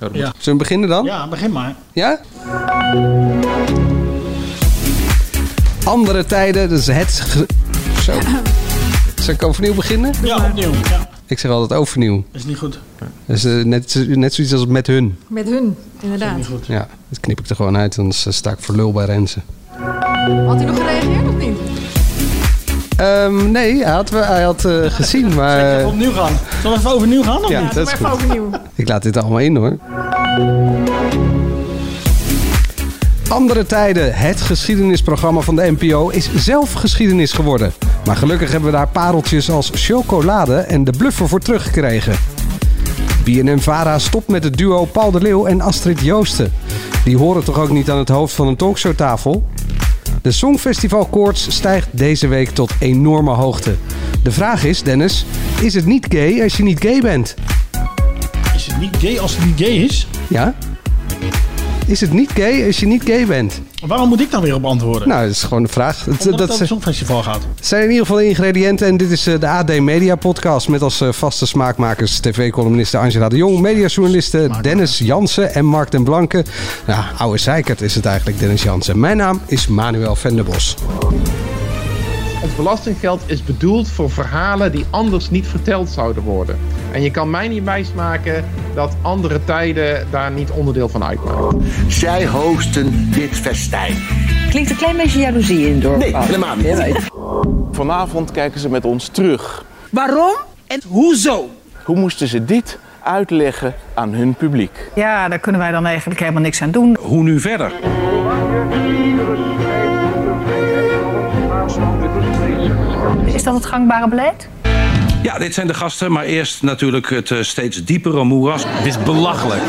Ja. Zullen we beginnen dan? Ja, begin maar. Ja? Andere tijden, dus het... ge- Zo. Zal ik overnieuw beginnen? Ja, opnieuw. Ja, Ik zeg altijd overnieuw. is niet goed. Dat is eh, net, net zoiets als met hun. Met hun, inderdaad. Niet goed. Ja, dat knip ik er gewoon uit, anders eh, sta ik voor lul bij Rensen. Had hij nog gereageerd of niet? Ehm, nee, hij had, wel- hij had eh, gezien, maar... Even eh, opnieuw gaan. Zullen we even overnieuw gaan? Of Ja. niet? Ja, doe dat maar is even overnieuw. ik laat dit allemaal in, hoor. Andere tijden, het geschiedenisprogramma van de NPO, is zelf geschiedenis geworden. Maar gelukkig hebben we daar pareltjes als chocolade en de bluffer voor teruggekregen. BNM-Vara stopt met het duo Paul de Leeuw en Astrid Joosten. Die horen toch ook niet aan het hoofd van een talkshowtafel? De Songfestivalkoorts stijgt deze week tot enorme hoogte. De vraag is, Dennis, is het niet gay als je niet gay bent? Is het niet gay als het niet gay is? Ja? Is het niet gay als je niet gay bent? Waarom moet ik dan weer op antwoorden? Nou, dat is gewoon een vraag. Dat- Omdat dat het over ze- het Songfestival gaat. zijn in ieder geval de ingrediënten. En dit is eh, de AD Media Podcast met als eh, vaste smaakmakers tv-columniste Angela de Jong, mediajournalisten Dennis Jansen en Mark den Blanke. Nou, oude zeikert is het eigenlijk, Dennis Jansen. Mijn naam is Manuel Venderbos. Ons belastinggeld is bedoeld voor verhalen die anders niet verteld zouden worden. En je kan mij niet wijsmaken dat andere tijden daar niet onderdeel van uitmaken. Zij hosten dit festijn. Klinkt een klein beetje jaloezie in het dorp. Nee, helemaal niet. Vanavond kijken ze met ons terug. Waarom? Hoe moesten ze dit uitleggen aan hun publiek? Ja, daar kunnen wij dan eigenlijk helemaal niks aan doen. Hoe nu verder? Is dat het gangbare beleid? Ja, dit zijn de gasten, maar eerst natuurlijk het eh, steeds diepere moeras. Dit is belachelijk.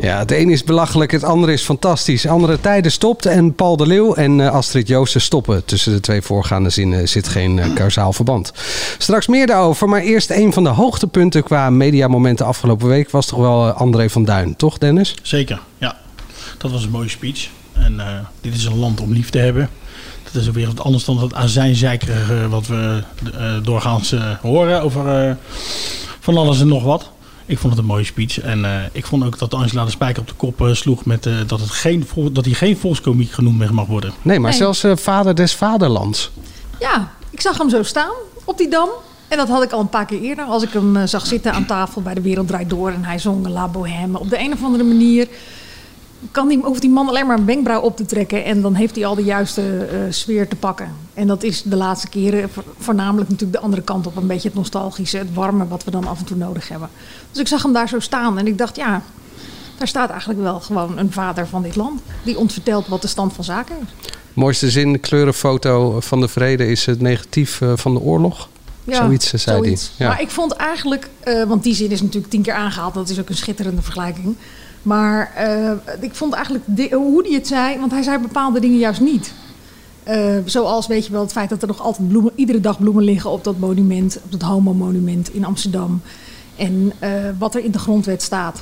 Ja, het een is belachelijk, het andere is fantastisch. Andere tijden stopt en Paul de Leeuw en eh, Astrid Joosten stoppen. Tussen de twee voorgaande zinnen zit geen eh, kausaal verband. Straks meer daarover, maar eerst een van de hoogtepunten qua mediamomenten afgelopen week was toch wel eh, André van Duin, toch Dennis? Zeker, ja. Dat was een mooie speech. En eh, dit is een land om lief te hebben. Dat is ook weer wat anders dan dat azijnzeikerige wat we eh, doorgaans eh, horen over eh, van alles en nog wat. Ik vond het een mooie speech. En eh, ik vond ook dat Angela de Spijker op de kop eh, sloeg met eh, dat, het geen, vol- dat hij geen volkscomiek genoemd mag worden. Nee, maar Nee. zelfs eh, vader des vaderlands. Ja, ik zag hem zo staan op die dam. En dat had ik al een paar keer eerder. Als ik hem eh, zag zitten aan tafel bij De Wereld Draait Door. En hij zong La Bohème. Op de een of andere manier kan die, hoeft die man alleen maar een wenkbrauw op te trekken. En dan heeft hij al de juiste eh, sfeer te pakken. En dat is de laatste keren vo- voornamelijk natuurlijk de andere kant op. Een beetje het nostalgische, het warme wat we dan af en toe nodig hebben. Dus ik zag hem daar zo staan. En ik dacht, ja, daar staat eigenlijk wel gewoon een vader van dit land. Die ons vertelt wat de stand van zaken is. Mooiste zin, kleurenfoto van de vrede is het negatief eh, van de oorlog. Zoiets, eh, zei hij. Ja. Maar ik vond eigenlijk, eh, want die zin is natuurlijk tien keer aangehaald, dat is ook een schitterende vergelijking. Maar eh, ik vond eigenlijk di- hoe hij het zei, want hij zei bepaalde dingen juist niet. Eh, zoals weet je wel het feit dat er nog altijd bloemen, iedere dag bloemen liggen op dat monument, op dat homo-monument in Amsterdam. En eh, wat er in de grondwet staat.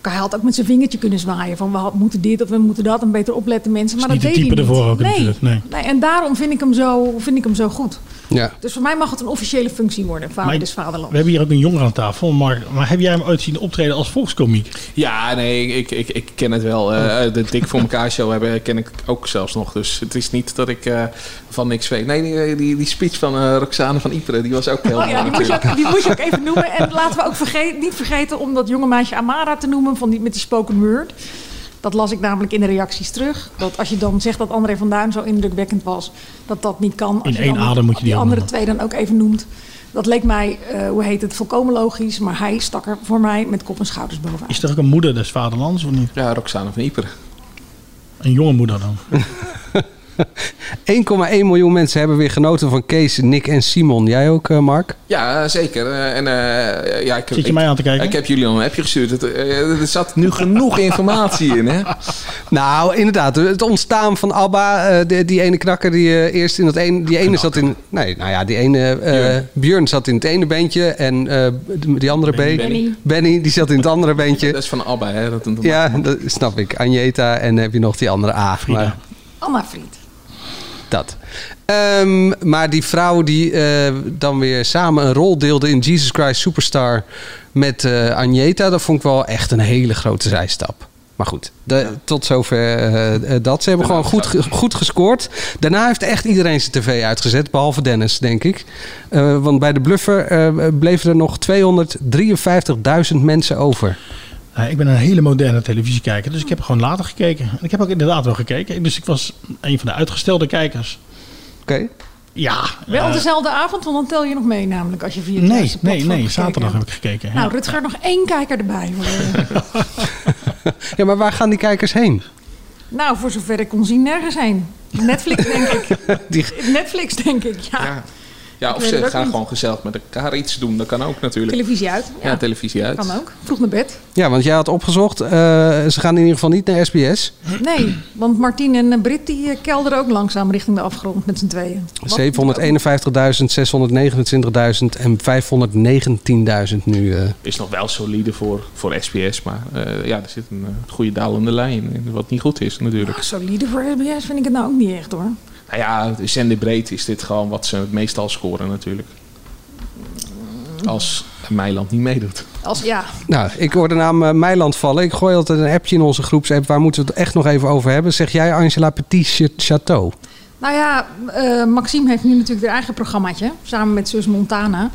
Hij had ook met zijn vingertje kunnen zwaaien van we moeten dit of we moeten dat en beter opletten mensen. Maar niet dat de deed type hij niet. ervoor ook nee. natuurlijk, nee. En daarom vind ik hem zo, vind ik hem zo goed. Ja. Dus voor mij mag het een officiële functie worden, vader Maar- dus vaderland. We hebben hier ook een jongere aan tafel, Mark. Maar heb jij hem ooit zien optreden als volkscomiek? Ja, nee, ik, ik, ik ken het wel. Eh, de Dik voor elkaar show hebben, eh, ken ik ook zelfs nog. Dus het is niet dat ik eh, van niks weet. Nee, die, die, die speech van eh, Roxane van Ypres, die was ook heel Oh ja, die mooi moet, je natuurlijk. ook, die moet je ook even noemen. En laten we ook verge- niet vergeten om dat jonge meisje Amara te noemen van die, met die spoken word. Dat las ik namelijk in de reacties terug. Dat als je dan zegt dat André van Duin zo indrukwekkend was, dat dat niet kan. Als In je één dan adem moet je die ook andere noemen. twee dan ook even noemt. Dat leek mij, eh, hoe heet het, volkomen logisch. Maar hij stak er voor mij met kop en schouders bovenuit. Is er ook een moeder des vaderlands of niet? Ja, Roxane van Ypres. Een jonge moeder dan? 1,1 miljoen mensen hebben weer genoten van Kees, Nick en Simon. Jij ook, eh, Mark? Ja, eh, zeker. Eh, En, eh, ja, ik, Zit je mij aan te kijken? Ik heb jullie al een appje gestuurd. Het, eh, er zat nu genoeg informatie in, hè? Nou, inderdaad. Het ontstaan van ABBA, eh, die, die ene knakker die eh, eerst in dat ene... Die ene zat in... Nee, nou ja, die ene... eh, Björn zat in het ene bandje en eh, die- die andere Benny, Benny, Benny. Benny. die zat in het andere bandje. Dat is van ABBA, hè? Dat, dat- Ja, dat snap ik. Agneta en heb je nog die andere A. Maar Anna Fried. dat. Ehm, maar die vrouw die eh, dan weer samen een rol deelde in Jesus Christ Superstar met eh Agneta, dat vond ik wel echt een hele grote zijstap. Maar goed, de- tot zover eh, eh, dat. Ze hebben gewoon goed, ge- goed gescoord. Daarna heeft echt iedereen zijn tv uitgezet, behalve Dennis, denk ik. Eh, want bij de bluffer eh, bleven er nog 253.000 mensen over. Nou, ik ben een hele moderne televisiekijker, dus ik heb gewoon later gekeken. En ik heb ook inderdaad wel gekeken. Dus ik was een van de uitgestelde kijkers. Oké. Ja. Wel eh, dezelfde avond, want dan tel je nog mee namelijk als je via het nee, juiste nee, platform nee. gekeken Zaterdag heb hebt. ik gekeken. Nou, Rutger, nog één kijker erbij. Ja, maar waar gaan die kijkers heen? nou, voor zover ik kon zien, nergens heen. Netflix, denk ik. Die... Netflix, denk ik, ja. ja, Ik of weet het ze ook gaan niet. gewoon gezellig met elkaar iets doen. Dat kan ook natuurlijk. Televisie uit. Ja, televisie uit. Kan ook. Vroeg naar bed. Ja, want jij had opgezocht, eh, ze gaan in ieder geval niet naar SBS. Nee, want Martien en eh, Brit die eh, kelderen ook langzaam richting de afgrond met z'n tweeën. Wat- 751.000, 629.000 en 519.000 nu. eh. Is nog wel solide voor, voor SBS, maar eh, ja, er zit een eh, goede dalende lijn in. Wat niet goed is natuurlijk. Ah, Solide voor SBS vind ik het nou ook niet echt hoor. Nou ja, zenderbreed is dit gewoon wat ze het meestal scoren natuurlijk. Mm. Als Meiland niet meedoet. Als ja, Nou, ik hoor de naam eh, Meiland vallen. Ik gooi altijd een appje in onze groepsapp. Waar moeten we het echt nog even over hebben? Zeg jij Angela Petit Ch- Chateau? Nou ja, eh, Maxime heeft nu natuurlijk haar eigen programmaatje. Samen met zus Montana.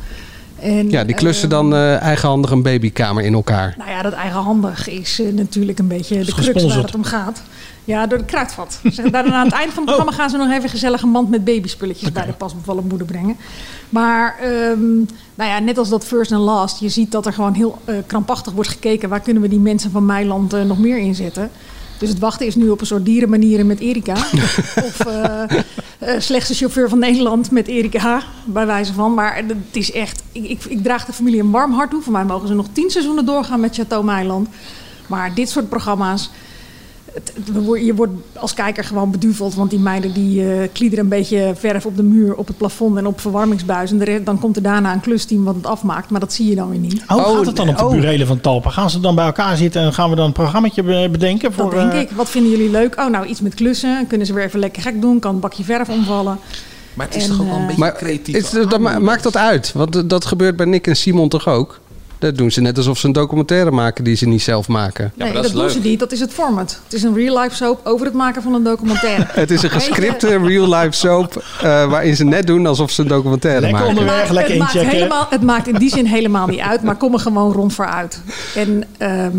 En, Ja, die klussen eh, dan eh, eigenhandig een babykamer in elkaar. nou ja, dat eigenhandig is eh, natuurlijk een beetje de crux waar gesponsord. het om gaat. Ja, door de kruidvat. Zeg, daarna aan het eind van het programma gaan ze nog even gezellig een mand met babyspulletjes bij de pasbevallen moeder brengen. Maar ehm, nou ja, net als dat first and last, je ziet dat er gewoon heel eh, krampachtig wordt gekeken. Waar kunnen we die mensen van Meiland eh, nog meer inzetten? Dus het wachten is nu op een soort dierenmanieren met Erika. of eh, eh, slechtste chauffeur van Nederland met Erika, bij wijze van. Maar het is echt, ik, ik, ik draag de familie een warm hart toe. Voor mij mogen ze nog tien seizoenen doorgaan met Chateau Meiland. Maar dit soort programma's, het- het- we wo- je wordt als kijker gewoon beduveld. Want die meiden die eh, kliederen een beetje verf op de muur, op het plafond en op verwarmingsbuis. En de re- dan komt er daarna een klusteam wat het afmaakt. Maar dat zie je dan weer niet. Hoe gaat het dan op de Oh. burelen van Talpa? Gaan ze dan bij elkaar zitten en gaan we dan een programmaatje be- bedenken? Voor, Dat denk eh, ik. Wat vinden jullie leuk? Oh, nou iets met klussen. Kunnen ze weer even lekker gek doen? Kan een bakje verf omvallen? Maar het is toch ook wel een beetje creatief. Is, dat, ma- maakt dat uit? Want eh, dat gebeurt bij Nick en Simon toch ook? Dat doen ze net alsof ze een documentaire maken die ze niet zelf maken. nee, dat, doen ze niet. Dat is het format. Het is een real-life soap over het maken van een documentaire. Het is een Weet je, gescripte real-life soap eh, waarin ze net doen alsof ze een documentaire Lekker maken. onderweg, het maakt helemaal- het maakt in die zin helemaal niet uit, maar kom er gewoon rond vooruit. En ehm,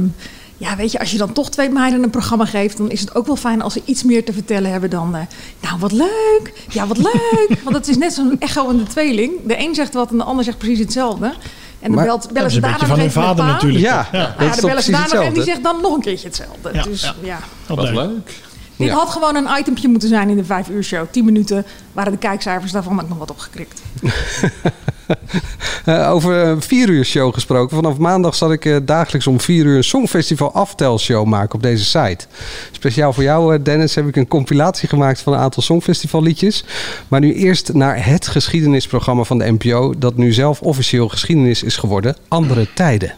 ja, weet je, als je dan toch twee meiden een programma geeft, dan is het ook wel fijn als ze iets meer te vertellen hebben dan. eh, nou, wat leuk! Ja, wat leuk! Want het is net zo'n echo in de tweeling. De een zegt wat en de ander zegt precies hetzelfde. En dan Maar- belt, bellen Dat is ze een daarna beetje nog van even hun met vader pa. natuurlijk. Ja, ja, ja, ja, dat is dan toch bellen ze precies daarna nog en die hetzelfde? zegt dan nog een keertje hetzelfde. Ja, dus ja. ja. Wat leuk. Dit Ja. had gewoon een itempje moeten zijn in de vijf uur show. 10 minuten waren de kijkcijfers daarvan ook nog wat opgekrikt. Eh, over een vier uur show gesproken. Vanaf maandag zal ik eh, dagelijks om vier uur een songfestival aftelshow maken op deze site. Speciaal voor jou, eh, Dennis, heb ik een compilatie gemaakt van een aantal songfestivalliedjes. Maar nu eerst naar het geschiedenisprogramma van de NPO, dat nu zelf officieel geschiedenis is geworden. Andere tijden.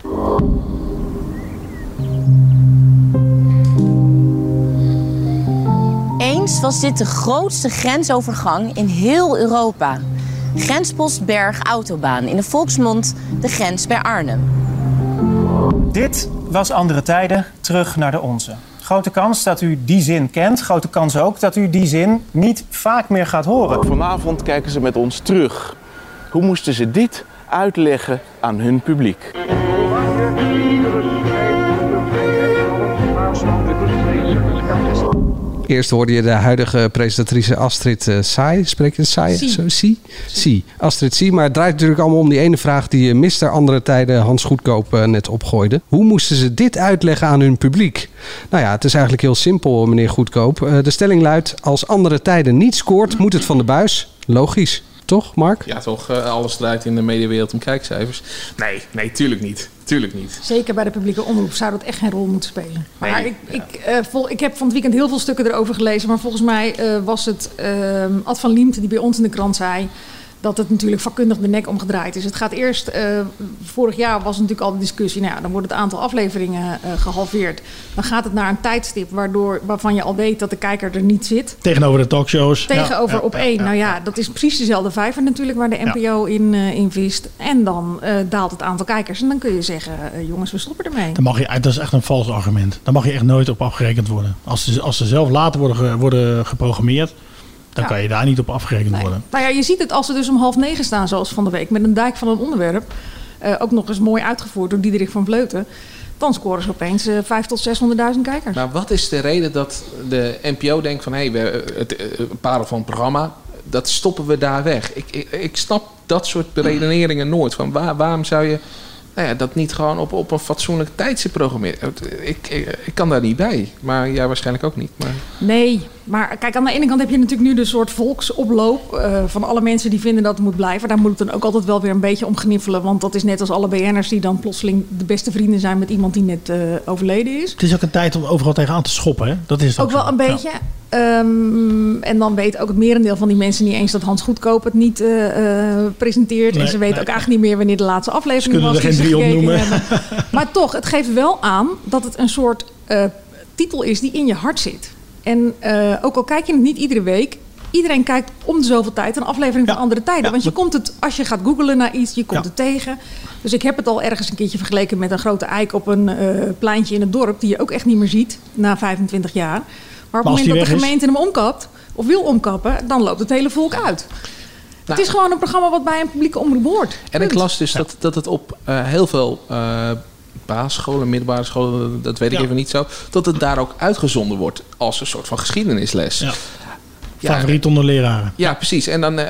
Eens was dit de grootste grensovergang in heel Europa. Grenspost Berg Autobaan, in de volksmond de grens bij Arnhem. Dit was Andere Tijden, terug naar de onze. Grote kans dat u die zin kent. Grote kans ook dat u die zin niet vaak meer gaat horen. Vanavond kijken ze met ons terug. Hoe moesten ze dit uitleggen aan hun publiek? Eerst hoorde je de huidige presentatrice Astrid eh, Saai. Spreek je het Saai? Sie. Zo, Sie? Sie. Astrid Sie. Maar het draait natuurlijk allemaal om die ene vraag die eh, Mister Andere Tijden Hans Goedkoop eh, net opgooide. Hoe moesten ze dit uitleggen aan hun publiek? Nou ja, het is eigenlijk heel simpel, meneer Goedkoop. Eh, de stelling luidt, als Andere Tijden niet scoort, moet het van de buis. Logisch. Toch, Mark? Ja, toch, eh, alles draait in de mediawereld om kijkcijfers. Nee, nee, tuurlijk niet. Tuurlijk niet. Zeker bij de publieke omroep zou dat echt geen rol moeten spelen. Nee, maar ik, ik, eh, vol, ik heb van het weekend heel veel stukken erover gelezen. Maar volgens mij eh, was het ehm, Ad van Liemte die bij ons in de krant zei... dat het natuurlijk vakkundig de nek omgedraaid is. Het gaat eerst... eh, vorig jaar was natuurlijk al de discussie... Nou, ja, dan wordt het aantal afleveringen eh, gehalveerd. Dan gaat het naar een tijdstip waardoor, waarvan je al weet dat de kijker er niet zit. Tegenover de talkshows. Tegenover Ja, ja, op één. ja, nou ja, dat is precies dezelfde vijver natuurlijk waar de NPO in, eh, in vist. En dan eh, daalt het aantal kijkers. En dan kun je zeggen, eh, jongens, we stoppen ermee. Dan mag je, dat is echt een vals argument. Daar mag je echt nooit op afgerekend worden. Als ze, als ze zelf later worden, ge- worden geprogrammeerd, dan Ja. kan je daar niet op afgerekend worden. Nou ja, je ziet het als ze dus om half negen staan, zoals van de week, met een dijk van een onderwerp. eh, ook nog eens mooi uitgevoerd door Diederik van Vleuten. Dan scoren ze opeens eh, vijf tot 600.000 kijkers. Maar wat is de reden dat de NPO denkt van... hé, hey, het eh, parel van het programma, dat stoppen we daar weg. Ik, ik, ik snap dat soort beredeneringen nooit. Van waar, waarom zou je nou ja, dat niet gewoon op, op een fatsoenlijk tijdstip programmeren? Het- Ik, ik, ik kan daar niet bij, maar jij waarschijnlijk ook niet. Maar... Nee, maar kijk, aan de ene kant heb je natuurlijk nu de soort volksoploop eh, van alle mensen die vinden dat het moet blijven. Daar moet het dan ook altijd wel weer een beetje om gniffelen. Want dat is net als alle BN'ers die dan plotseling de beste vrienden zijn met iemand die net eh, overleden is. Het is ook een tijd om overal tegenaan te schoppen. Hè? Dat is het Ook wel zo. Nou. een Ja. beetje. Ehm, en dan weet ook het merendeel van die mensen niet eens dat Hans Goedkoop het niet eh, eh, presenteert. Nee, en ze weten nee. ook eigenlijk niet meer wanneer de laatste aflevering Ze kunnen was. er geen die drie gekeken opnoemen. hebben. Maar toch, het geeft wel aan dat het een soort eh, titel is die in je hart zit. En eh, ook al kijk je het niet iedere week, iedereen kijkt om de zoveel tijd een aflevering van andere tijden. Want je komt het, als je gaat googlen naar iets, je komt het tegen. Dus ik heb het al ergens een keertje vergeleken met een grote eik op een eh, pleintje in het dorp, die je ook echt niet meer ziet na 25 jaar. Maar op Maar als het die moment dat de weg is- gemeente hem omkapt, of wil omkappen, dan loopt het hele volk uit. het is gewoon een programma wat bij een publieke omroep hoort. En ik las dus dat, dat het op eh, heel veel eh basisscholen, middelbare scholen, dat weet ik even niet zo, dat het daar ook uitgezonden wordt als een soort van geschiedenisles. Ja, Favoriet onder leraren. ja, precies. En dan eh,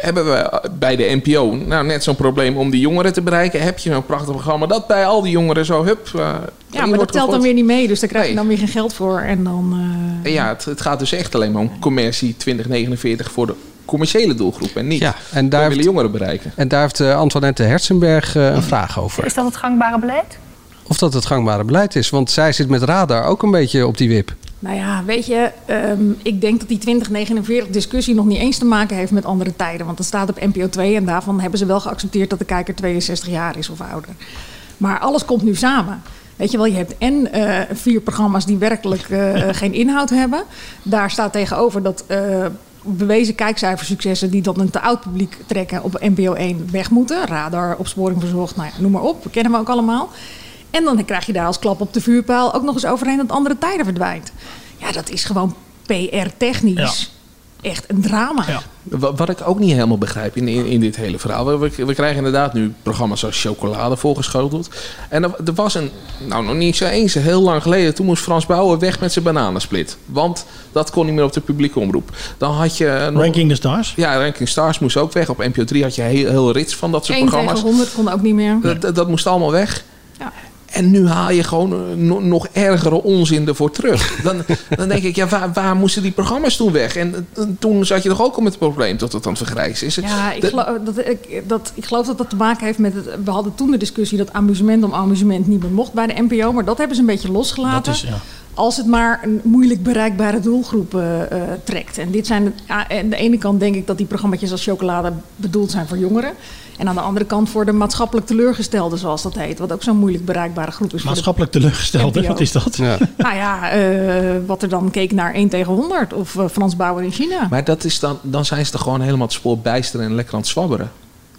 hebben we bij de NPO nou, net zo'n probleem om die jongeren te bereiken. Heb je zo'n prachtig programma dat bij al die jongeren zo, hup. eh, Ja, erin maar dat telt wordt dan gegooid. weer niet mee. Dus daar krijg je dan weer geen geld voor. En dan, eh, En ja, het, het gaat dus echt alleen maar om commercie 2049 voor de commerciële doelgroep en niet. Ja, en daar willen jongeren bereiken. En daar heeft eh, Antoinette Hertzenberg eh, een vraag over. Is dat het gangbare beleid? Of dat het gangbare beleid is. Want zij zit met radar ook een beetje op die wip. nou ja, weet je, ehm, ik denk dat die 2049 discussie nog niet eens te maken heeft met andere tijden. Want dat staat op NPO 2 en daarvan hebben ze wel geaccepteerd dat de kijker 62 jaar is of ouder. Maar alles komt nu samen. Weet je wel, je hebt en eh, vier programma's die werkelijk eh, geen inhoud hebben. Daar staat tegenover dat eh, bewezen kijkcijfersuccessen die dan een te oud publiek trekken op NPO 1 weg moeten. Radar, opsporing verzocht, nou ja, noem maar op. Kennen we ook allemaal. En dan krijg je daar als klap op de vuurpijl ook nog eens overheen dat andere tijden verdwijnt. Ja, dat is gewoon PR-technisch echt een drama. Wa- Wat ik ook niet helemaal begrijp in, in, in dit hele verhaal. We, we- we krijgen inderdaad nu programma's als Chocolade voorgeschoteld. En er, er was een, nou nog niet zo eens, heel lang geleden. Toen moest Frans Bauer weg met zijn bananensplit. Want dat kon niet meer op de publieke omroep. Dan had je... eh, nog- Ranking the Stars. Ja, Ranking Stars moest ook weg. Op NPO 3 had je heel, heel rits van dat soort 1 tegen programma's. 100 kon ook niet meer. Dat, dat, dat moest allemaal weg. Ja. En nu haal je gewoon eh, no- nog ergere onzin ervoor terug. Dan, dan denk ik, ja, waar, waar moesten die programma's toen weg? En eh, toen zat je toch ook al met het probleem dat het dan vergrijs is. Ja, ik De- geloof dat, ik, dat, ik geloof dat dat te maken heeft met... Het, we hadden toen de discussie dat amusement om amusement niet meer mocht bij de NPO. Maar dat hebben ze een beetje losgelaten. Dat is, ja. Als het maar een moeilijk bereikbare doelgroep eh, eh, trekt. En dit zijn, de- ja, aan de ene kant denk ik dat die programma's als chocolade bedoeld zijn voor jongeren. En aan de andere kant voor de maatschappelijk teleurgestelden, zoals dat heet. Wat ook zo'n moeilijk bereikbare groep is. voor de- Maatschappelijk teleurgesteld, hè? NPO. wat is dat? nou ja, eh, wat er dan keek naar 1 tegen 100 of eh, Frans Bauer in China. Maar dat is dan, dan zijn ze er gewoon helemaal het spoor bijster en lekker aan het zwabberen.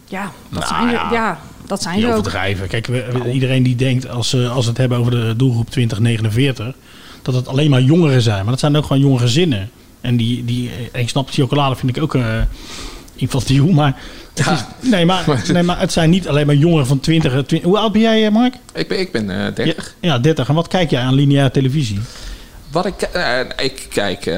ja, dat Nou zijn, ja. ze- ja, dat zijn Die ze ook. overdrijven. Kijk, we- we- iedereen die denkt als ze als we het hebben over de doelgroep 2049, dat het alleen maar jongeren zijn. Maar dat zijn ook gewoon jonge gezinnen. En die, die en ik snap, chocolade vind ik ook eh infantiel, maar, het is, nee, maar, nee, maar het zijn niet alleen maar jongeren van 20. eh, 20 hoe oud ben jij, eh, Mark? Ik ben, ik ben eh 30. Ja, 30. En wat kijk jij aan lineaire televisie? Wat ik, eh, ik kijk, eh,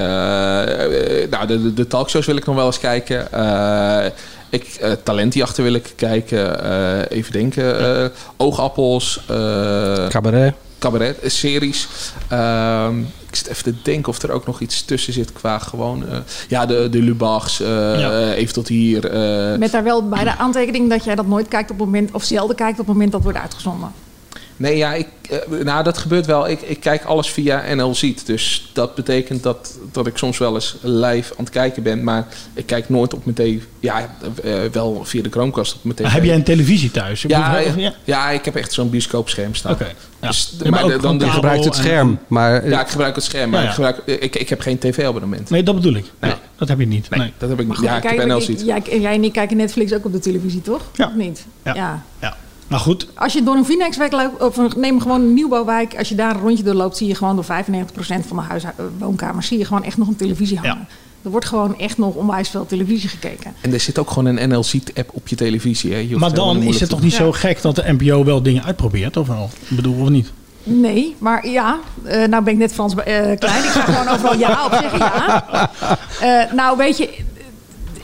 eh, nou, de, de- de talkshows wil ik nog wel eens kijken. Eh, ik, eh, talentjachten wil ik kijken. Eh, even denken. eh, oogappels. eh, Cabaret. Cabaret, eh, series. Ehm, ik zit even te denken of er ook nog iets tussen zit qua gewoon... eh, ja, de, de Lubachs. eh, eh, even tot hier. eh, Met daar wel bij de aantekening dat jij dat nooit kijkt op het moment, of zelden kijkt op het moment dat wordt uitgezonden. Nee, ja, ik, eh, nou, dat gebeurt wel. Ik, ik kijk alles via NL Ziet. Dus dat betekent dat, dat ik soms wel eens live aan het kijken ben. Maar ik kijk nooit op mijn tv. Ja, eh, wel via de Chromecast op mijn tv. Nou, Ah, Heb jij een televisie thuis? Ik ja, bedoel, ja, of- ja. ik heb echt zo'n bioscoopscherm staan. Oké, ja. Dus, Ja, maar ook de- gewoon de- Je gebruikt het kabel en- scherm, maar- Ja, ik gebruik het scherm. Maar Ja, ja. Ik, gebruik, ik, ik heb geen tv-abonnement. Nee, dat bedoel ik. Nee, dat heb je niet. Nee. Dat heb ik niet. Goed, Ja, dan ik heb kijken NL we- Ziet. jij, jij en ik kijken Netflix ook op de televisie, toch? Ja. Of niet? Ja. Maar goed, Als je door een Vinex-wijk loopt, of neem gewoon een nieuwbouwwijk. Als je daar een rondje doorloopt, zie je gewoon door 95% van de huis, eh, woonkamers... zie je gewoon echt nog een televisie hangen. Er wordt gewoon echt nog onwijs veel televisie gekeken. En er zit ook gewoon een NL Ziet-app op je televisie. Hè. Je hoeft maar helemaal dan is moeilijk het te toch niet doen. zo gek dat de NPO wel dingen uitprobeert, of wel? Ik bedoel, of niet? Nee, maar ja. eh, nou ben ik net Frans eh, Klein. Ik ga gewoon overal ja op zeggen, ja. Eh, nou, weet je...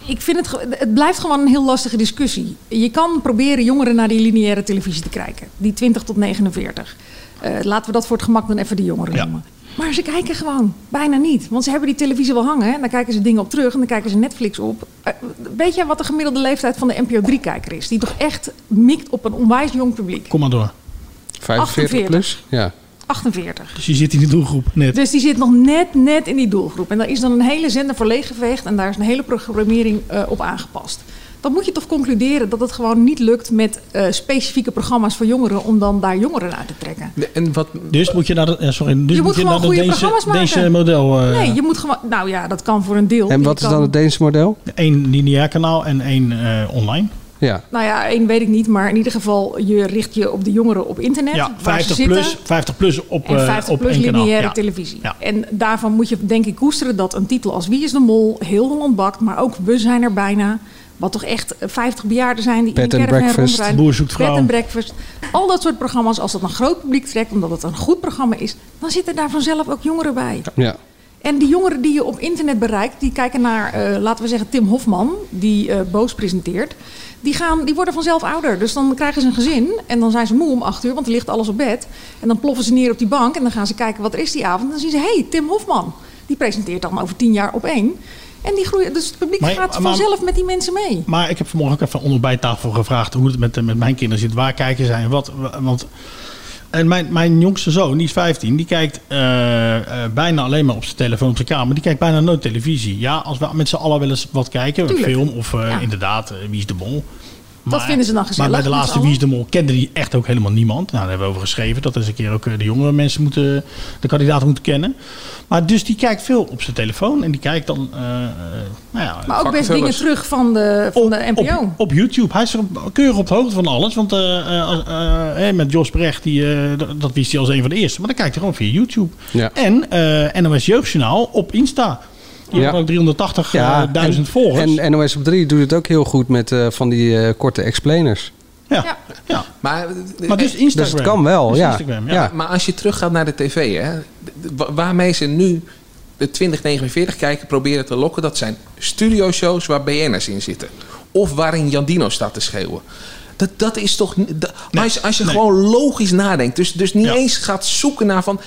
Ik vind het, ge- het blijft gewoon een heel lastige discussie. Je kan proberen jongeren naar die lineaire televisie te kijken. Die 20 tot 49. Eh, laten we dat voor het gemak dan even de jongeren noemen. Maar ze kijken gewoon bijna niet. Want ze hebben die televisie wel hangen. hè, En daar kijken ze dingen op terug. En dan kijken ze Netflix op. Eh, weet jij wat de gemiddelde leeftijd van de NPO 3-kijker is? Die toch echt mikt op een onwijs jong publiek. Kom maar door. 45 plus? Ja. 48. Dus je zit in die doelgroep net. Dus die zit nog net, net in die doelgroep. En daar is dan een hele zender voor leeggeveegd en daar is een hele programmering eh, op aangepast. Dan moet je toch concluderen dat het gewoon niet lukt met eh, specifieke programma's voor jongeren om dan daar jongeren uit te trekken. En wat... Dus moet je naar dat, eh, sorry, dus Je moet moet je gewoon naar dat goede Deense, programma's maken. Deense model. eh, nee, je moet gewoon. Nou ja, dat kan voor een deel. En Je wat is kan- dan het Deense model? Eén lineair kanaal en één eh, online. Ja. Nou ja, één weet ik niet, maar in ieder geval, je richt je op de jongeren op internet. Ja, waar ze 50 zitten. plus, 50 plus op, En eh, 50 op plus één kanaal. lineaire Ja. televisie. En daarvan moet je denk ik koesteren dat een titel als Wie is de Mol, Heel Holland Bakt, maar ook We zijn er bijna. Wat toch echt 50 bejaarden zijn die Bed in de and caravan Breakfast, rondrijden. Boer zoekt vrouw. Bed and Breakfast. Al dat soort programma's, als dat een groot publiek trekt, omdat het een goed programma is, dan zitten daar vanzelf ook jongeren bij. Ja. En die jongeren die je op internet bereikt, die kijken naar, eh, laten we zeggen, Tim Hofman, die eh, Boos presenteert. Die, gaan, die worden vanzelf ouder. Dus dan krijgen ze een gezin en dan zijn ze moe om acht uur, want er ligt alles op bed. En dan ploffen ze neer op die bank en dan gaan ze kijken wat er is die avond. En dan zien ze, hé, hey, Tim Hofman. Die presenteert dan over tien jaar op één. En die groeien, dus het publiek Maar- gaat maar- vanzelf met die mensen mee. Maar ik heb vanmorgen ook even onder bijtafel gevraagd hoe het met, met mijn kinderen zit. Waar kijken zij en wat? Want, en mijn, mijn jongste zoon, die is 15, die kijkt eh, eh, bijna alleen maar op zijn telefoon op zijn kamer. Die kijkt bijna nooit televisie. Ja, als we met z'n allen wel eens wat kijken, een Tuurlijk. film of eh, inderdaad, eh, wie is de mol? vinden ze dan gezellig, Maar bij de met laatste z'n Wie is de Mol kende die echt ook helemaal niemand. Nou, daar hebben we over geschreven. Dat is een keer ook eh, de jongere mensen moeten, de kandidaten moeten kennen. Maar dus die kijkt veel op zijn telefoon. En die kijkt dan, eh, eh, nou ja, Maar ook best dingen terug van de, van de NPO. op, op YouTube. Hij is er keurig op de hoogte van alles. Want eh, eh, als- eh, hè, met Jos Brecht, die, eh, d- dat wist hij als een van de eerste. Maar dan kijkt hij gewoon via YouTube. Ja. En eh NOS Jeugdjournaal op Insta. Die Ja. hebben ook 380.000 en, volgers. En NOS op 3 doet het ook heel goed met eh, van die eh, korte explainers. ja. ja. Maar, eh, Maar dus Instagram. Dus het kan wel, Dus ja. Instagram, ja. Ja. Maar als je teruggaat naar de tv, hè, d- wa- waarmee ze nu de 2049 kijken proberen te lokken, dat zijn studioshows waar BN'ers in zitten. Of waarin Jandino staat te schreeuwen. Dat, dat is toch. n- dat- als, als je gewoon logisch nadenkt, dus, dus niet eens gaat zoeken naar van.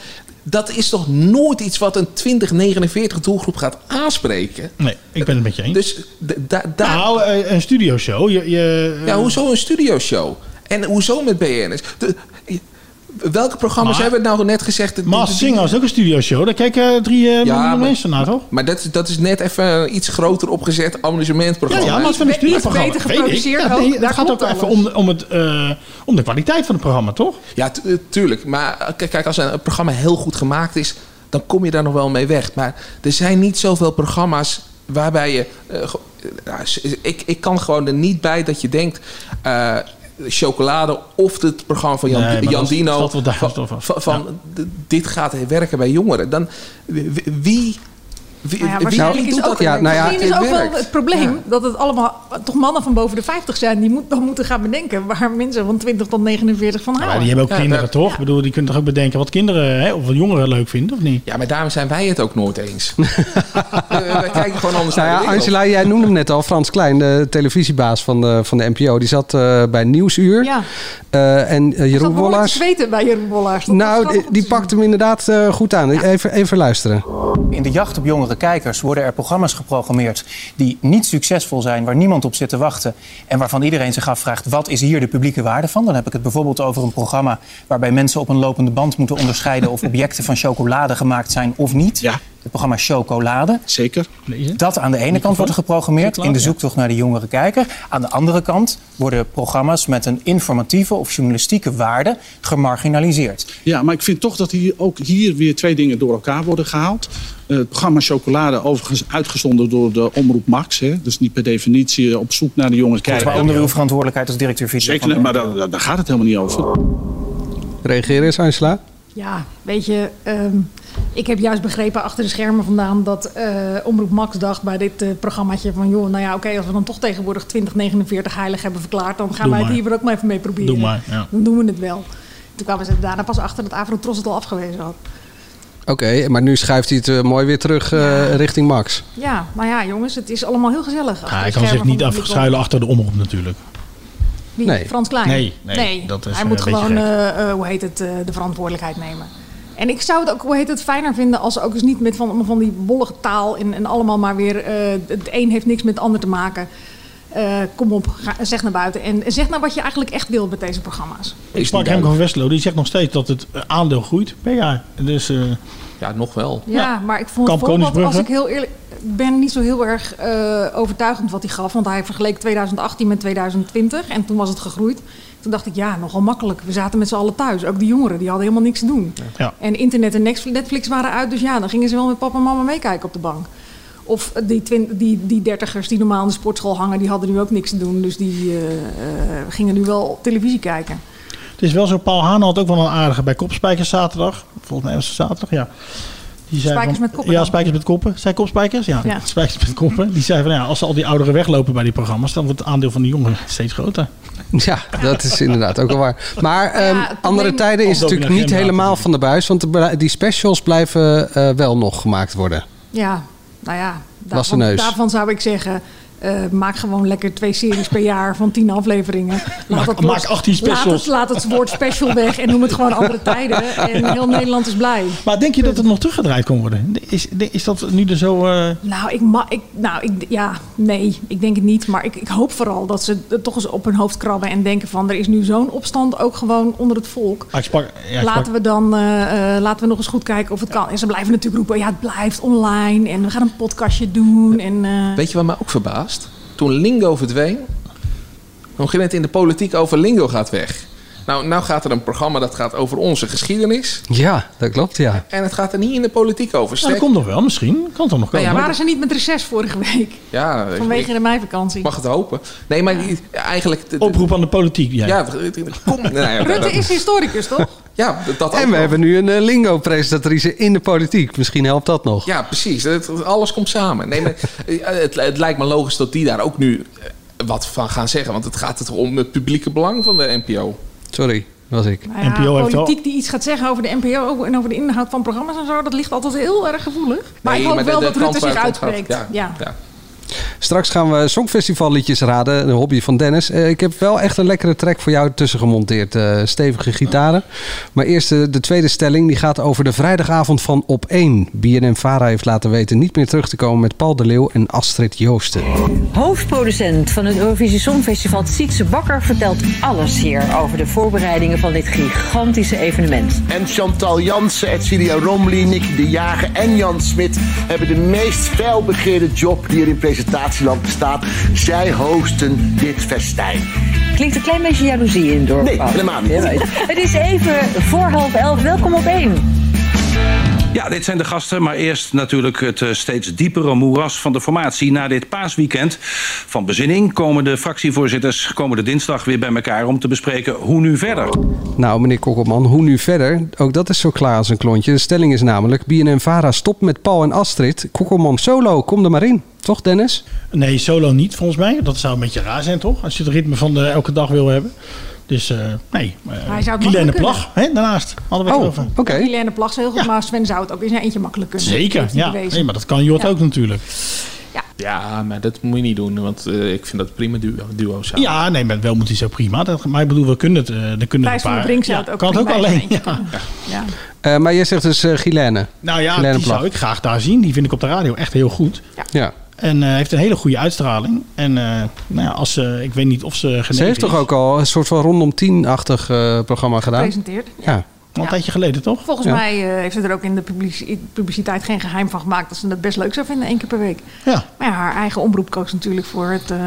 Dat is toch nooit iets wat een 2049 doelgroep gaat aanspreken? Nee, ik ben het met je eens. Dus d- da- daar. Nou, eh, een studioshow. Je, je, Ja, hoezo een studioshow? En hoezo met BN'ers? De- Welke programma's Maar- hebben we nou net gezegd? dat- Master Singer is ook een studioshow. Daar kijken drie eh, miljoen maar- mensen naar, toch? Maar dat, dat is net even een iets groter opgezet amusementprogramma. Ja, ja, maar het is van een studieprogramma. beter Weet ik. geproduceerd Ja, ook. nee, Het Daar gaat ook klopt even om, om, het, eh, om de kwaliteit van het programma, toch? Ja, tu- eh, tuurlijk. Maar eh, kijk, kijk, als een programma heel goed gemaakt is, dan kom je daar nog wel mee weg. Maar er zijn niet zoveel programma's waarbij je. eh, ge- eh, nou, s- ik, ik kan gewoon er niet bij dat je denkt. eh, chocolade of het programma van Jan, Nee, maar Jan dat is- Dino. dat is wat daar van, stof af. van- van, d- dit gaat werken bij jongeren. Dan wie. wie wie, Nou ja, wie waarschijnlijk doet is ook, nou dat? Nou misschien is ook wel het probleem dat het allemaal toch mannen van boven de 50 zijn, die moet, dan moeten gaan bedenken waar mensen van 20 tot 49 van houden. Maar die hebben ook Ja, kinderen, dat- toch? Ik bedoel, die kunnen toch ook bedenken wat kinderen hè, of wat jongeren leuk vinden, of niet? Ja, maar daarom zijn wij het ook nooit eens. Eh, wij kijken gewoon anders Nou naar ja, de wereld. Angela, jij noemde hem net al. Frans Klein, de televisiebaas van de, van de NPO. Die zat eh, bij Nieuwsuur. Ja. Eh, en eh, Ik zat Jeroen behoorlijk te Wollaars. zweten bij Jeroen Bollaars. Nou, die, die pakt hem inderdaad eh, goed aan. Even, even luisteren. In de jacht op jongere kijkers worden er programma's geprogrammeerd die niet succesvol zijn, waar niemand op zit te wachten en waarvan iedereen zich afvraagt wat is hier de publieke waarde van. Dan heb ik het bijvoorbeeld over een programma waarbij mensen op een lopende band moeten onderscheiden of objecten van chocolade gemaakt zijn of niet. Het programma Chocolade. Zeker. Dat aan de e- ene kant wordt er geprogrammeerd in de zoektocht naar de jongere kijker. Aan de andere kant worden programma's met een informatieve of journalistieke waarde gemarginaliseerd. Ja, maar ik vind toch dat hier ook hier weer twee dingen door elkaar worden gehaald. Eh, het programma Chocolade, overigens uitgezonden door de Omroep Max. Hè, dus niet per definitie op zoek naar de jonge Volgens kijker. mij onder uw verantwoordelijkheid als directeur video. Zeker, van- niet, maar daar, daar- daar gaat het helemaal niet Ah, over. Reageer eens, Angela. Ja, weet je, ehm, ik heb juist begrepen achter de schermen vandaan dat eh, Omroep Max dacht bij dit eh, programmaatje van joh, nou ja, oké, als we dan toch tegenwoordig 2049 heilig hebben verklaard, dan gaan Doe wij maar. het hier ook maar even mee proberen. Doe maar, ja. Dan doen we het wel. Toen kwamen ze daarna pas achter dat Avrotros het al afgewezen had. Oké, maar nu schuift hij het eh, mooi weer terug eh, richting Max. Ja, nou ja, jongens, het is allemaal heel gezellig. achter Ja, de hij kan zich schermen niet van de publiek. afschuilen achter de omroep natuurlijk. Wie? Nee. Frans Klein? Nee, nee, dat is hij een moet beetje gewoon, gek. eh, eh, hoe heet het, eh, de verantwoordelijkheid nemen. En ik zou het ook, hoe heet het, fijner vinden als ze ook eens niet met van, allemaal van die wollige taal en, en allemaal maar weer, eh, het een heeft niks met het ander te maken. Eh, kom op, ga- zeg naar buiten en zeg nou wat je eigenlijk echt wil met deze programma's. Ik sprak Remco van Westerlo, die zegt nog steeds dat het eh, aandeel groeit per jaar. Dus, ja, nog wel. Ja, maar ik vond Kamp het voorbeeld, als Koningsbrugge. ik heel eerlijk ik ben, niet zo heel erg eh, overtuigend wat hij gaf. Want hij vergeleek 2018 met 2020 en toen was het gegroeid. Toen dacht ik, ja, nogal makkelijk. We zaten met z'n allen thuis. Ook de jongeren, die hadden helemaal niks te doen. Ja. En internet en Nex- Netflix waren uit, dus ja, dan gingen ze wel met papa en mama meekijken op de bank. Of eh, die, twin- die, die dertigers die normaal in de sportschool hangen, die hadden nu ook niks te doen. Dus die eh, eh, gingen nu wel op televisie kijken. Het is wel zo, Paul Haan had ook wel een aardige bij Kopspijkers zaterdag. Volgens mij was het zaterdag, ja. Die zei Spijkers van- met koppen Ja, dan? spijkers met koppen. Zijn kopspijkers? Ja, Ja. spijkers met koppen. Die zei van ja, als al die ouderen weglopen bij die programma's, dan wordt het aandeel van de jongeren steeds groter. Ja, dat is inderdaad ook wel waar. Maar ehm, het probleem- andere tijden is Komt ook natuurlijk in de niet agenda helemaal van de buis. Want de bela- die specials blijven eh, wel nog gemaakt worden. Ja, nou ja, Was de daarvan, neus. daarvan zou ik zeggen. eh, maak gewoon lekker twee series per jaar van tien afleveringen. Maak- het maak 18 specials. Laat het, laat het woord special weg en noem het gewoon andere tijden. En heel Nederland is blij. Maar denk je dat het nog teruggedraaid kon worden? Is, is dat nu er zo... eh, Nou, ik ma ik, nou ik, ja, nee, ik denk het niet. Maar ik, ik hoop vooral dat ze het toch eens op hun hoofd krabben en denken van... er is nu zo'n opstand ook gewoon onder het volk. ah, ik sprak, ja, ik sprak- laten we dan eh, eh, laten we nog eens goed kijken of het kan. En ze blijven natuurlijk roepen, ja, het blijft online en we gaan een podcastje doen. En, eh, Weet je wat mij ook verbaast? Toen Lingo verdween, op een gegeven moment in de politiek over Lingo gaat weg. Nou, nou gaat er een programma dat gaat over onze geschiedenis. Ja, dat klopt, ja. En het gaat er niet in de politiek over. Nou, Sterk- dat komt nog wel, misschien. Kan toch nog Nou komen? ja, ja, waren ze niet met reces vorige week? Ja, ik- Vanwege de meivakantie. ik mag het hopen. Nee, maar die- eigenlijk... de- de- Oproep aan de politiek, jij. Ja, de- de- de- kom. nou ja, Rutte dat- is historicus, toch? Ja, dat- dat ook En we nog. hebben nu een eh, lingo-presentatrice in de politiek. Misschien helpt dat nog. Ja, precies. Het- alles komt samen. Nee, maar eh, het, het lijkt me logisch dat die daar ook nu eh, wat van gaan zeggen. Want het gaat het om het publieke belang van de NPO. Sorry, was ik. Nou ja, politiek die iets gaat zeggen over de NPO en over de inhoud van programma's en zo, dat ligt altijd heel erg gevoelig. Maar Nee, ik hoop maar de- wel de dat Rutte kans waar zich het om gaat, uitspreekt. Ja, ja, Straks gaan we songfestivalliedjes raden. De hobby van Dennis. Eh, ik heb wel echt een lekkere track voor jou tussen gemonteerd. eh, stevige gitaren. Maar eerst de, de tweede stelling. Die gaat over de vrijdagavond van op 1. BNM Vara heeft laten weten niet meer terug te komen met Paul de Leeuw en Astrid Joosten. Hoofdproducent van het Eurovisie Songfestival, Sietse Bakker, vertelt alles hier over de voorbereidingen van dit gigantische evenement. En Chantal Jansen, Edcilia Romli, Nicky de Jager en Jan Smit hebben de meest felbegeerde job die er in presentatieland bestaat. Zij hosten dit festijn. Klinkt een klein beetje jaloezie in het dorp. Nee, Paul. helemaal niet. Je weet. Het is even voor half elf. Welkom op één. Ja, dit zijn de gasten, maar eerst natuurlijk het eh, steeds diepere moeras van de formatie. Na dit paasweekend van bezinning komen de fractievoorzitters komende dinsdag weer bij elkaar om te bespreken hoe nu verder. Nou, meneer Kokkelman, hoe nu verder? Ook dat is zo klaar als een klontje. De stelling is namelijk... BNM Vara stopt met Paul en Astrid. Kokkelman solo, kom er maar in. Toch, Dennis? Nee, solo niet volgens mij. Dat zou een beetje raar zijn, toch? Als je het ritme van de elke dag wil hebben. Dus eh, nee. Hij zou Uh, het Oh. makkelijk Plag, hè, daarnaast. Hadden we Oh, het over. Helene Plag is heel goed, maar Sven zou het ook in zijn eentje makkelijk kunnen. Zeker, Heeft hij ja. bewezen. Nee, maar dat kan Jort Ja. ook natuurlijk. Ja, maar dat moet je niet doen, want eh, ik vind dat prima duo, duo samen. Ja, nee, maar wel moet hij zo prima. Dat, maar ik bedoel, we kunnen het. eh dan kunnen Thijs een van paar. der Brink zou ja, het ook kan het ook prima in alleen. zijn Ja. Ja. Eh, maar jij zegt dus eh Gilene. Nou ja, Gilene die Plag. zou ik graag daar zien. Die vind ik op de radio echt heel goed. Ja. En eh, heeft een hele goede uitstraling. En eh, nou ja, als ze, ik weet niet of ze genezen Ze heeft toch ook al een soort van rondom 10-achtig eh, programma gedaan? Gepresenteerd, Ja. Al een tijdje geleden, toch? Volgens Ja. mij eh, heeft ze er ook in de publici- publiciteit geen geheim van gemaakt dat ze het best leuk zou vinden één keer per week. Ja. Maar ja, haar eigen omroep koos natuurlijk voor het eh,